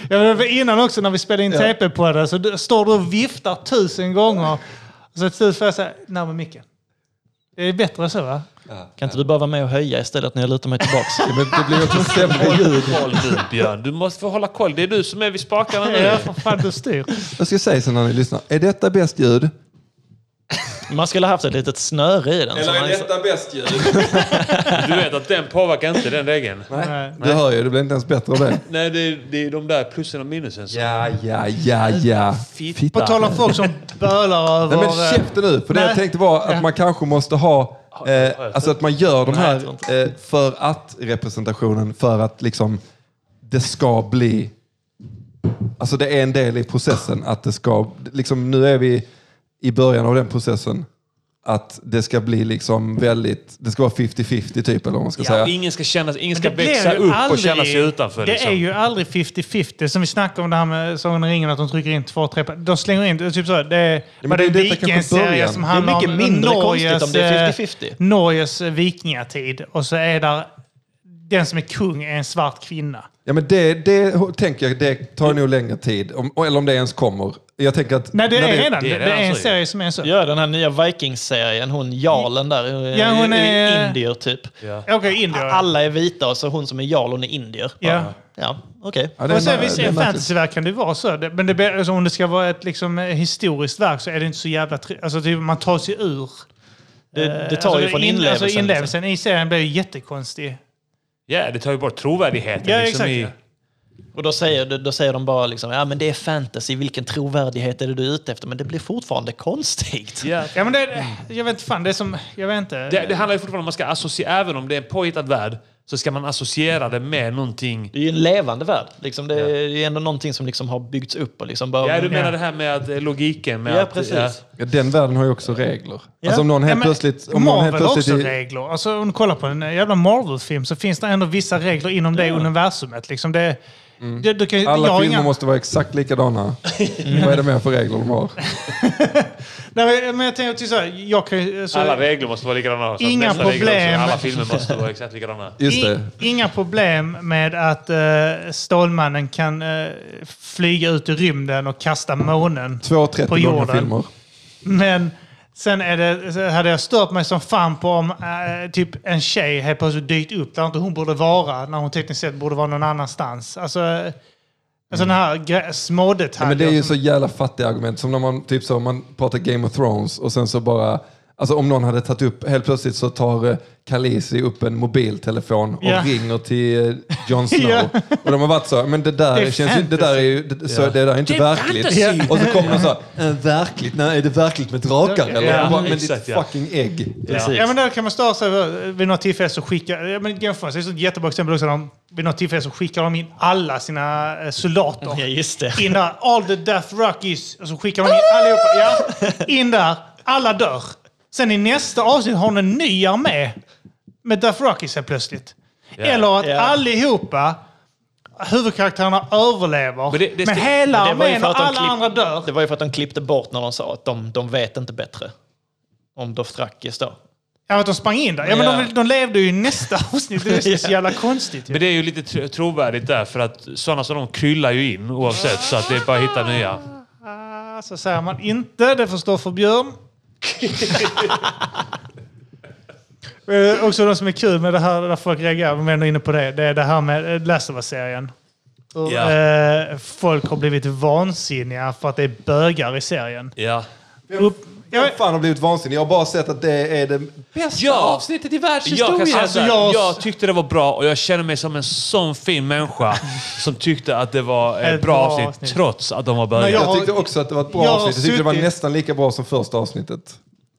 Jag vet, för innan också när vi spelade in
Ja.
TP på det så du- står du och viftar tusen gånger. Och så till slut får jag säga, närmare micken. Det är bättre så va?
Kan inte du bara vara med och höja istället när jag lutar mig
<laughs>
tillbaks?
Ja, Men det blir
<laughs>
också sämre
Håll
ljud.
koll nu Björn. Du måste få hålla koll. Det är du som är vid spakarna
Ja,
nu.
för fan du styr.
Jag ska säga så när ni lyssnar. Är detta bäst ljud?
Man skulle ha haft ett litet snöre i den. så man liksom-
bäst ljud?
<laughs> Du vet att den påverkar inte den regeln.
Nej, du hör ju. Det blir inte ens bättre av det.
Nej, det är, det är de där plussen och minusen. som-
Ja, ja, ja, ja.
Fitta.
På tal om folk som bölar över... eh,
Nej men käften nu. För det
Nej.
jag tänkte var att man kanske måste ha... Eh, alltså att man gör de här eh, för att-representationen för att liksom det ska bli... Alltså det är en del i processen att det ska... Liksom nu är vi i början av den processen. att det ska bli liksom väldigt, det ska vara 50-50 typ eller vad man ska
Ja,
säga.
ingen ska, kännas, ingen
Men
ska
det blir
växa
ju
upp och
aldrig-
känna sig utanför.
Det
liksom.
är ju aldrig 50-50. Som vi snackade om det här med Sagan om ringen, att de trycker in två, tre... De slänger in... Typ så, det, är-
men
var
det
det
är
en
detta kanske
vikingaserie
början.
som
Det
Det
handlar
är mycket mindre
Norges,
konstigt om det är
eh,
50-50.
Norges eh, vikingatid. Och så är där den som är kung är en svart kvinna.
Ja, men det, det tänker jag, det tar nog längre tid. Om, eller om det ens kommer. Jag tänker att...
Nej, det
när
är redan.
det
Det,
är
det
redan
är en
så ju.
serie som är så.
Ja, den här nya Vikings-serien, hon jarlen där,
Ja,
ja,
hon
hon
är-
är indier typ.
Ja.
Okej, indier.
Alla är vita och så hon som är jarl, hon är indier.
Ja.
Ja, okej.
Ja, det är
och sen
ma-
visst,
det är
i
märkligt.
fantasyvärld kan det vara så. Det- Men det, blir- alltså, om det ska vara ett liksom, historiskt verk så är det inte så jävla... tri- Alltså, typ, man tar sig ur.
Det, det tar ju från
in-
inlevelsen.
Alltså,
liksom.
inlevelsen i serien blir ju jättekonstig.
ja, det tar ju bort trovärdigheten.
Ja,
liksom,
exakt,
i,
ja.
Och då säger, då säger de bara liksom, ja men det är fantasy, vilken trovärdighet är det du är ute efter? Men det blir fortfarande konstigt.
ja.
Ja, men det, jag vet inte fan, det är som... Jag vet inte.
Det, det handlar ju fortfarande om att man ska associera, även om det är en påhittad värld, så ska man associera det med någonting.
Det är ju en levande värld. Liksom. Det är ju ändå någonting som liksom har byggts upp. Och liksom bara,
Ja, du menar
Ja.
det här med att, eh, logiken? Med
Ja,
att,
precis.
Ja, Den världen har ju också regler.
Ja.
Alltså om någon helt
Ja, men
plötsligt... Om någon
Marvel har
helt
också
plötsligt i,
regler. Alltså, om du kollar på en jävla Marvel-film så finns det ändå vissa regler inom det universumet. Liksom det, det, du kan, jag
Mm. alla
har
filmer
inga-
måste vara
<laughs>
exakt likadana. Vad är det mer för regler de har?
Nej, men- men jag tänker till så här, jag kan ju... så-
Alla regler måste vara likadana. så att
Inga
nästa regel också,
problem.
Alla filmer måste vara exakt likadana.
Just
I-
det.
Inga problem med att eh, Stålmannen kan eh, flyga ut i rymden och kasta månen.
Två
På
30 långa
jorden.
filmer.
Men sen är det, så hade jag stört mig som fan på om eh, typ en tjej helt plötsligt dykt upp där inte hon borde vara, när hon tekniskt sett borde vara någon annanstans. Alltså, eh, alltså den här gre- små
Mm. Ja, men det
detaljer.
är ju
som-
så jävla fattiga argument. Som när man, typ så, man pratar Game of Thrones och sen så bara... Alltså om någon hade tagit upp, helt plötsligt så tar eh, Khaleesi upp en mobiltelefon och
Ja.
ringer till eh,
<laughs>
Jon Snow.
Ja.
Och de har varit så, men det där,
Det är
känns ju, det där är ju det, så, det där är inte
Det är
verkligt.
fantasy.
Och så kommer de så här, "Eh, verkligt? Nej, är det verkligt med drakar eller?
Ja,
Och bara, men
exakt,
ditt
ja.
fucking ägg.
Precis.
Ja, men där kan man störa sig över. vid något tillfälle så skickar... Ja, men jämför, det är ett jättebra exempel också. när De, vid något tillfälle så skickar de in alla sina eh, soldater.
Ja, just det.
In där, all the death rockies. Och så skickar man in allihopa. Ja, in där, alla dör. Sen i nästa avsnitt har de en ny armé med death rockies helt plötsligt.
Ja.
Eller att
Ja.
allihopa, huvudkaraktärerna överlever. Men,
Men det- det ska-
hela
Men det var ju
armén
för att
och
de
alla
klipp-
andra dör.
Det var ju för att de klippte bort när de sa att de, de vet inte bättre. Om Dothrakis då.
Ja, att de sprang in där. Ja, men
Ja.
de, de levde ju i nästa avsnitt. Det är så
<laughs> Ja.
jävla konstigt. ju.
Men det är ju lite tro- trovärdigt där, för att sådana som de kryllar ju in oavsett, så att det är bara att hitta nya.
Ah, Så säger man inte, det får stå för Björn. Eh, Också de som är kul med det här, där folk reagerar, om vi ändå är inne på det, det är det här med eh, Last of Us-serien. Hur,
Ja.
eh, folk har blivit vansinniga för att det är bögar i serien.
Ja.
Upp, jag,
Jag
vet-
fan har blivit vansinnig. Jag har bara sett att det är det bästa
Ja.
avsnittet i
Jag, kan
världshistorien.
säga
Alltså,
så här,
jag-
jag tyckte det var bra och jag känner mig som en sån fin
<laughs>
människa som tyckte att det var ett
Ett
bra
bra
avsnitt,
avsnitt.
trots att de var bögar.
Men jag-
Jag tyckte också att det var ett bra
Jag har
avsnitt. Jag tyckte det var
suttit-
nästan lika bra som första avsnittet.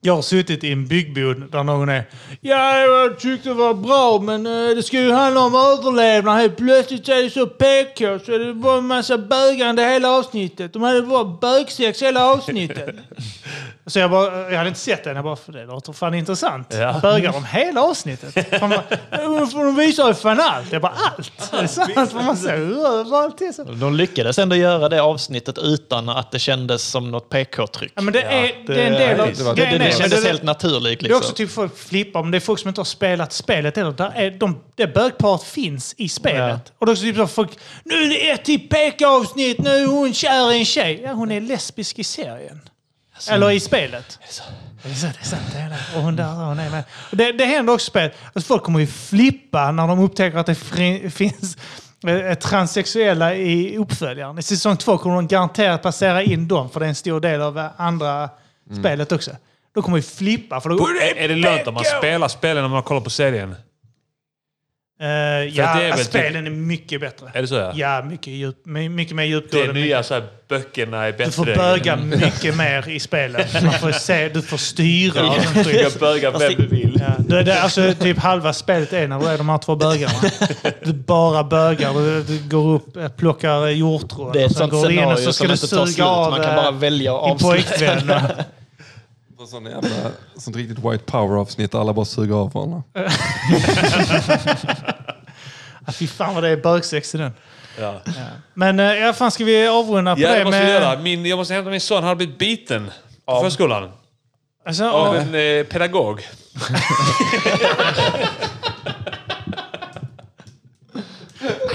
jag har suttit i en byggbod där någon är Ja, jag tyckte det var bra, men eh, det ska ju handla om överlevnad. Helt plötsligt så är det så PK, så det var en massa bögande hela avsnittet. De hade bara bögsex hela avsnittet. så jag, bara, eh, jag hade inte sett den, jag bara, för det låter fan intressant.
Ja.
Bögar de hela avsnittet? Fan, man- För de visar ju fan allt. Jag bara, allt? Är det sant? Får man säga överallt? Det är så-
De lyckades ändå göra det avsnittet utan att det kändes som något PK-tryck.
Ja, men det är, det är en del av...
det,
grejen
det, det,
är- men
kändes
det-
helt naturligt.
Det är
Liksom.
också typ folk flippar, men det är folk som inte har spelat spelet eller där är de, Det bögparet finns i spelet. Och då är det typ så folk... Nu är det ett till PK-avsnitt, nu är hon kär i en tjej. Ja, hon är lesbisk i serien. eller i spelet. Det är så, Alltså, det är sant, det är sant. Det är det. Och hon där, hon är med. Och det, det händer också i spelet. Alltså folk kommer ju flippa när de upptäcker att det fri, <laughs> finns eh, transsexuella i uppföljaren. I säsong två kommer de garanterat passera in dem, för det är en stor del av eh, andra spelet också. Då kommer ju flippa. För då,
Är- Är det lönt om man spelar spelen när man kollar på serien?
Eh,
att det är
ja,
väl typ-
spelen är mycket bättre.
Är det så? Ja.
Ja, mycket, djup, my- mycket mer
Det är
djupgående.
nya så här, böckerna är bättre.
Du får böga mycket mer i spelet. Man får se, du får styra. och sånt skit.
Jag bögar vem du vill.
Ja, Alltså, det, det, alltså, typ halva spelet är när du är de här två bögarna. Du bara bögar. Du, du går upp, eh, plockar hjortron.
Det är
och
ett
sen
sånt
går du eh, in och
scenario
så ska
som
du
inte
suga
tar slut.
av
Man kan bara
eh,
välja att <laughs>
din
avsluta.
pojkvän.
På sån jävla, sånt riktigt white power-avsnitt där alla bara suger av varandra.
Ah, fy fan vad det är bögsex i den.
Ja.
Men eh, ja, fan ska vi avrunda på
Ja,
det
det måste vi göra. Min, jag måste hämta min son. Han har blivit biten på förskolan.
Alltså,
Av
ja.
en eh, pedagog.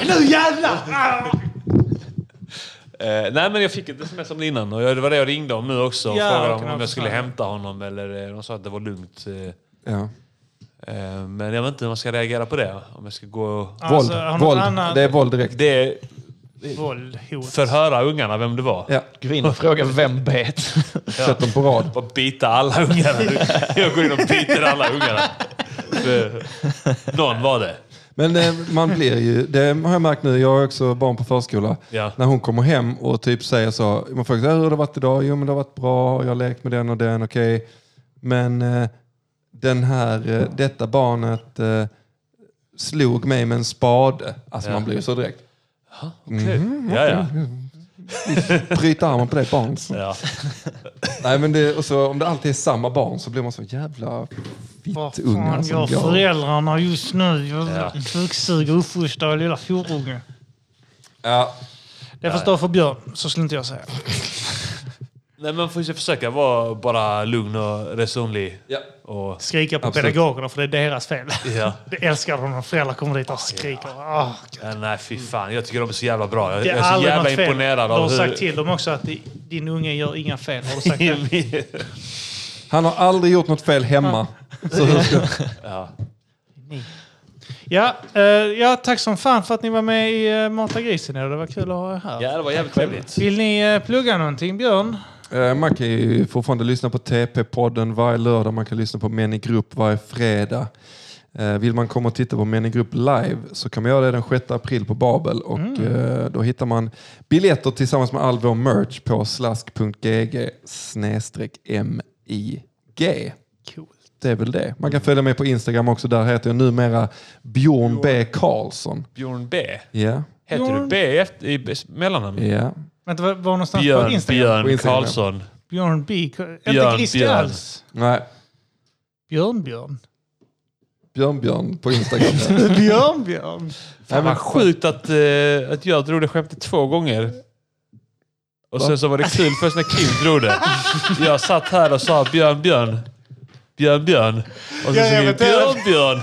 Nu jävlar! Ah!
Eh, nej, men jag fick ett sms om det innan. Och jag, det var det jag ringde om nu också. Och
Ja,
frågade
kan
om, om
jag
jag skulle
förstå.
hämta honom. Eller, eh, de sa att det var lugnt. Eh,
Ja.
eh, men jag vet inte hur man ska reagera på det. Om jag ska gå och...
Alltså, har
våld.
någon
våld.
annan-
Det är våld direkt.
Det,
Våld, hot.
förhöra ungarna vem det var.
Ja.
Gå in och fråga vem bet.
Sätt dem på rad.
Och bita alla ungarna. Jag går in och biter alla ungarna. För Någon var det.
Men eh, man blir ju, det har jag märkt nu, jag har också barn på förskola.
Ja.
När hon kommer hem och typ säger så, man frågar så här, hur har det varit idag? Jo men det har varit bra, jag har lekt med den och den, okej. Men eh, den här, eh, detta barnet eh, slog mig med en spade. Alltså
Ja.
man blir ju så direkt.
Okej.
Mm-hmm.
Ja, ja.
Bryta armen på det barnet.
ja.
<laughs> Nej men det, och så, om det alltid är samma barn så blir man så jävla
Vad
ungar
fan
som
gör
går.
föräldrarna just nu?
Ja.
Jag Kuksuger och uppfostrar lilla fjorunge.
Ja,
Det förstår för Björn, så skulle inte jag säga.
Nej, man får ju försöka vara bara lugn och resonlig.
ja.
Och,
Skrika på
Absolut.
pedagogerna för det är deras fel.
ja.
Det älskar de när föräldrar kommer dit och skriker. Ah,
Ja, Nej, fy fan. Jag tycker de är så jävla bra. Jag,
det är
jag är så
aldrig
jävla
något fel.
imponerad
De har
av
sagt
hur...
till dem också att di- din unge gör inga fel. Har
<laughs>
du sagt det?
Han har aldrig gjort något fel hemma. Så hur ska,
ja.
Ja, eh, ja, tack som fan för att ni var med i eh, Mata grisen. idag. Det var kul att ha er här.
ja, det var jävligt trevligt.
Vill ni eh, plugga någonting, Björn?
Eh, Man kan ju fortfarande lyssna på TP-podden varje lördag. Man kan lyssna på Män i grupp varje fredag. Eh, Vill man komma och titta på Män i grupp live så kan man göra det den 6 april på Babel. Och eh, Då hittar man biljetter tillsammans med all vår merch på slask.gg MIG.
Coolt.
Det är väl det. Man kan följa mig på Instagram också. Där heter jag numera Björn B. Karlsson.
Björn B.
Ja,
Heter du
Björn-
B i efter- i i mellannamn?
ja.
Vänta, var, var någonstans på
Björn,
Instagram?
Björn
Instagram.
Karlsson.
Björn B. K-
Björn,
inte Christer
Björn.
alls.
Nej,
Björn Björn.
Björn Björn på Instagram.
Björn Björn.
Fan vad sjukt att, eh, att jag drog det skämtet två gånger. Och sen så var det kul först när Kim drog det. Jag satt här och sa Björn Björn. Björn Björn. Och
Ja,
sen så
jag
vi
vet
Björn Björn.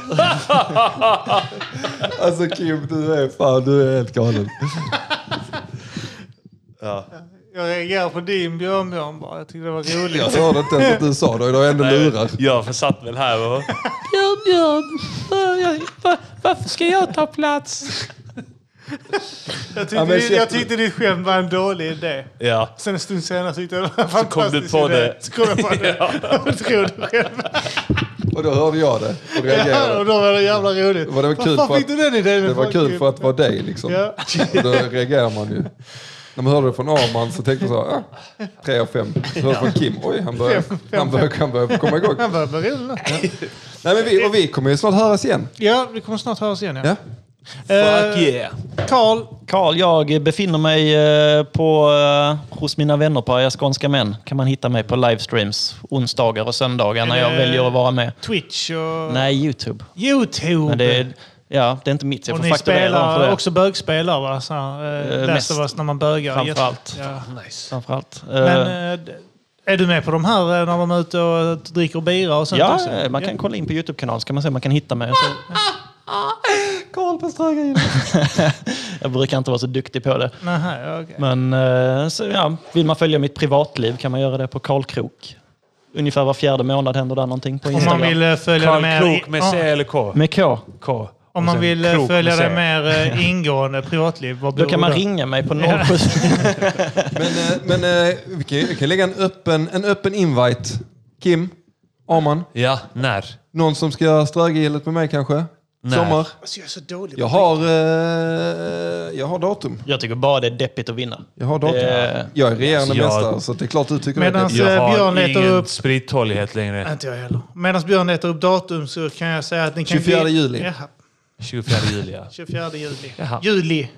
Alltså Kim, du är fan, du är helt galen.
Jag reagerar på din Björn Björn bara. Jag tyckte det var roligt.
Jag hörde inte ens att du sa det. Du har ändå lurar.
Jag försatt väl här och...
Björn, Björn, eh, jag- va- varför ska jag ta plats?
Jag tyckte,
Ja, men
ditt- jag
shit.
tyckte ditt skämt var en dålig idé.
Ja.
Sen en stund senare tyckte jag det var en fantastisk
på
idé.
det.
Så kom jag på
<laughs>
det. <laughs> Och drog det själv.
Och då hörde jag det och
Ja, och
reagerade.
då var det jävla roligt.
Var det väl kul
Varför
för
fick
att-
du den idén?
Det var kul för att vara dig liksom.
Ja.
Och då reagerar man ju. När man hörde det från Arman så tänkte man så här, ah, tre och fem. Så hörde från Kim, oj han börjar,
Fem, fem,
han börjar, han börjar komma igång.
Han börjar bli rolig nu.
Nej, men vi, och vi kommer ju snart höras igen.
Ja, vi kommer snart höras igen. Ja.
Ja.
Eh,
yeah.
Karl,
<laughs> Karl, jag befinner mig eh, på, eh, hos mina vänner på Arga Skånska Män. kan man hitta mig på livestreams onsdagar och söndagar när jag
Eh,
väljer att vara med.
Twitch och
Nej, YouTube.
Youtube.
Men det är, ja, det är inte mitt. Jag
och
får
ni
fakturera dem för
spelar
det.
också bögspelar va? Så, uh,
Eh,
Last of
mest.
Us när man bögar.
Framförallt.
Jätte- Ja.
Nice.
Framförallt.
Men
Eh,
eh, d- är du med på de här eh, när de är ute och dricker bira och sånt
Ja,
också?
eh, man kan kolla in på YouTube-kanalen så kan man se om man kan hitta mig. Så,
<laughs>
Karl på Ströga
<laughs> jag brukar inte vara så duktig på det.
Nähä, okej.
Men eh, så, ja, vill man följa mitt privatliv kan man göra det på Karl Krok. Ungefär var fjärde månad händer där någonting på
Om man
Instagram.
vill eh, följa det
Karl
mer,
Krok med
ja,
C eller K?
Med K.
K.
om
Och
man
sen
vill eh,
Krok
följa
med C.
det mer eh, ingående privatliv, vad
Då
beror
kan man
det?
ringa mig på 07...
Men, eh, men eh, vi kan, vi kan lägga en öppen, en öppen invite. Kim, Arman,
Ja, när?
någon som ska göra Strögehjulet med mig kanske?
Nej.
Sommar?
Alltså, jag är så dålig.
Jag har, eh, jag har datum.
<laughs> Jag tycker bara det är deppigt att vinna.
Jag har datum.
Det-
Jag är regerande
Eh, Jag-
mästare så det är klart du tycker det. är
Medans-
deppigt.
Så
Jag
Alltså, Björn
har
letar
ingen
upp- Äh.
sprittålighet längre.
Inte jag heller. Medan Björn letar upp datum så kan jag säga att ni kan...
24 juli.
Jaha,
24 juli,
<laughs>
ja.
24 juli.
Jaha.
Juli.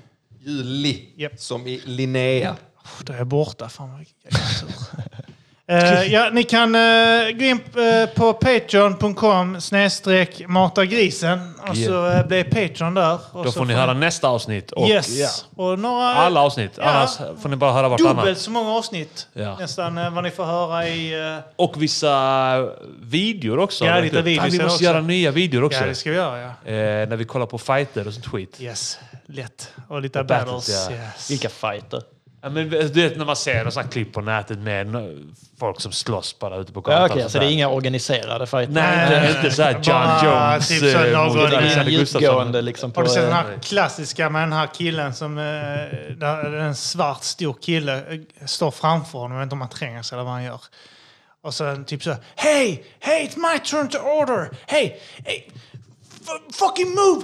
Juli,
Japp.
som i Linnea.
Då är jag borta. Fan vad jag är sur. <laughs> Eh, ja, ni kan eh, gå in eh, på patreon.com snedstreck matagrisen och så eh, blir Patreon där. Och
Då
så
får ni höra nästa avsnitt. Och,
Yes!
ja,
Och några,
alla avsnitt.
Ja.
Annars får ni bara höra
dubbelt
vartannat.
så många avsnitt
Ja.
nästan eh, vad ni får höra i... eh,
Och vissa videor också.
Ja,
har
lite
dykt upp. Fan,
videos
vi
är
måste
också.
göra nya videor också.
ja, det ska vi göra ja.
eh, när vi kollar på fighter och sånt skit.
Yes, lätt. Och lite
battles,
battles.
ja.
yes.
Vilka fighter.
Ja, men, du vet när man ser några sån här klipp på nätet med n- folk som slåss bara ute på gatan.
Ja,
och
Okej,
sånt
så Alltså, det är
där.
inga organiserade fighter.
Nej, det är inte såhär John
Bara
Jones
typ så
eh,
någon-
mot
Det är ingen
Alexander Gustafsson.
djupgående liksom. På,
Har du sett den
eh,
här klassiska med den här killen som... eh, där en svart stor kille eh, står framför honom. Jag vet inte om han tränger sig eller vad han gör. Och sen typ så... Hey! Hey! It's my turn to order! Hey! hey f- fucking move!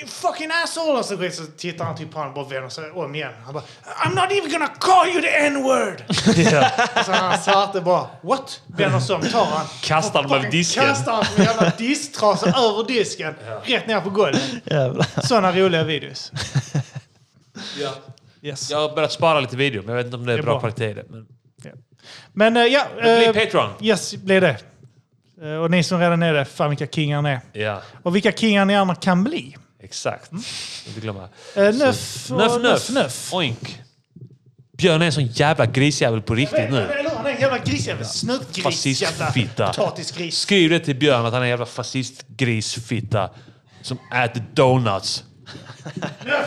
You fucking asshole! Och så, går- så tittar han typ på honom och bara vänder sig om igen. Han bara... I'm not even gonna call you
<laughs>
the n-word! Och så han svarte bara... What? Vänder sig om, tar han...
Kastar honom över
fucking
disken.
Kastar honom som en jävla disktrasa över disken. Rätt ner på golvet.
<laughs> jävlar.
Sådana roliga videos.
Ja.
Yes.
Jag har börjat spara lite video, men jag vet inte om det är,
Det är
bra,
bra.
kvalitet i det. Men...
Men eh, ja,
Bli
eh,
Patreon!
yes, blir det. Eh, och ni som redan är det, fan vilka kingar ni är.
Ja,
Och vilka kingar ni andra kan bli.
exakt. Inte glömma.
Eh, nöff och
Nöff,
nöff,
nöff,
nöff.
Oink. Björn är en sån jävla grisjävel på riktigt
Eller
nu.
eller hur? Han är en jävla grisjävel. Snutgris.
Fascistfitta.
Jävla potatisgris.
Skriv det till Björn att han är en jävla fascistgrisfitta som äter donuts.
Nöff!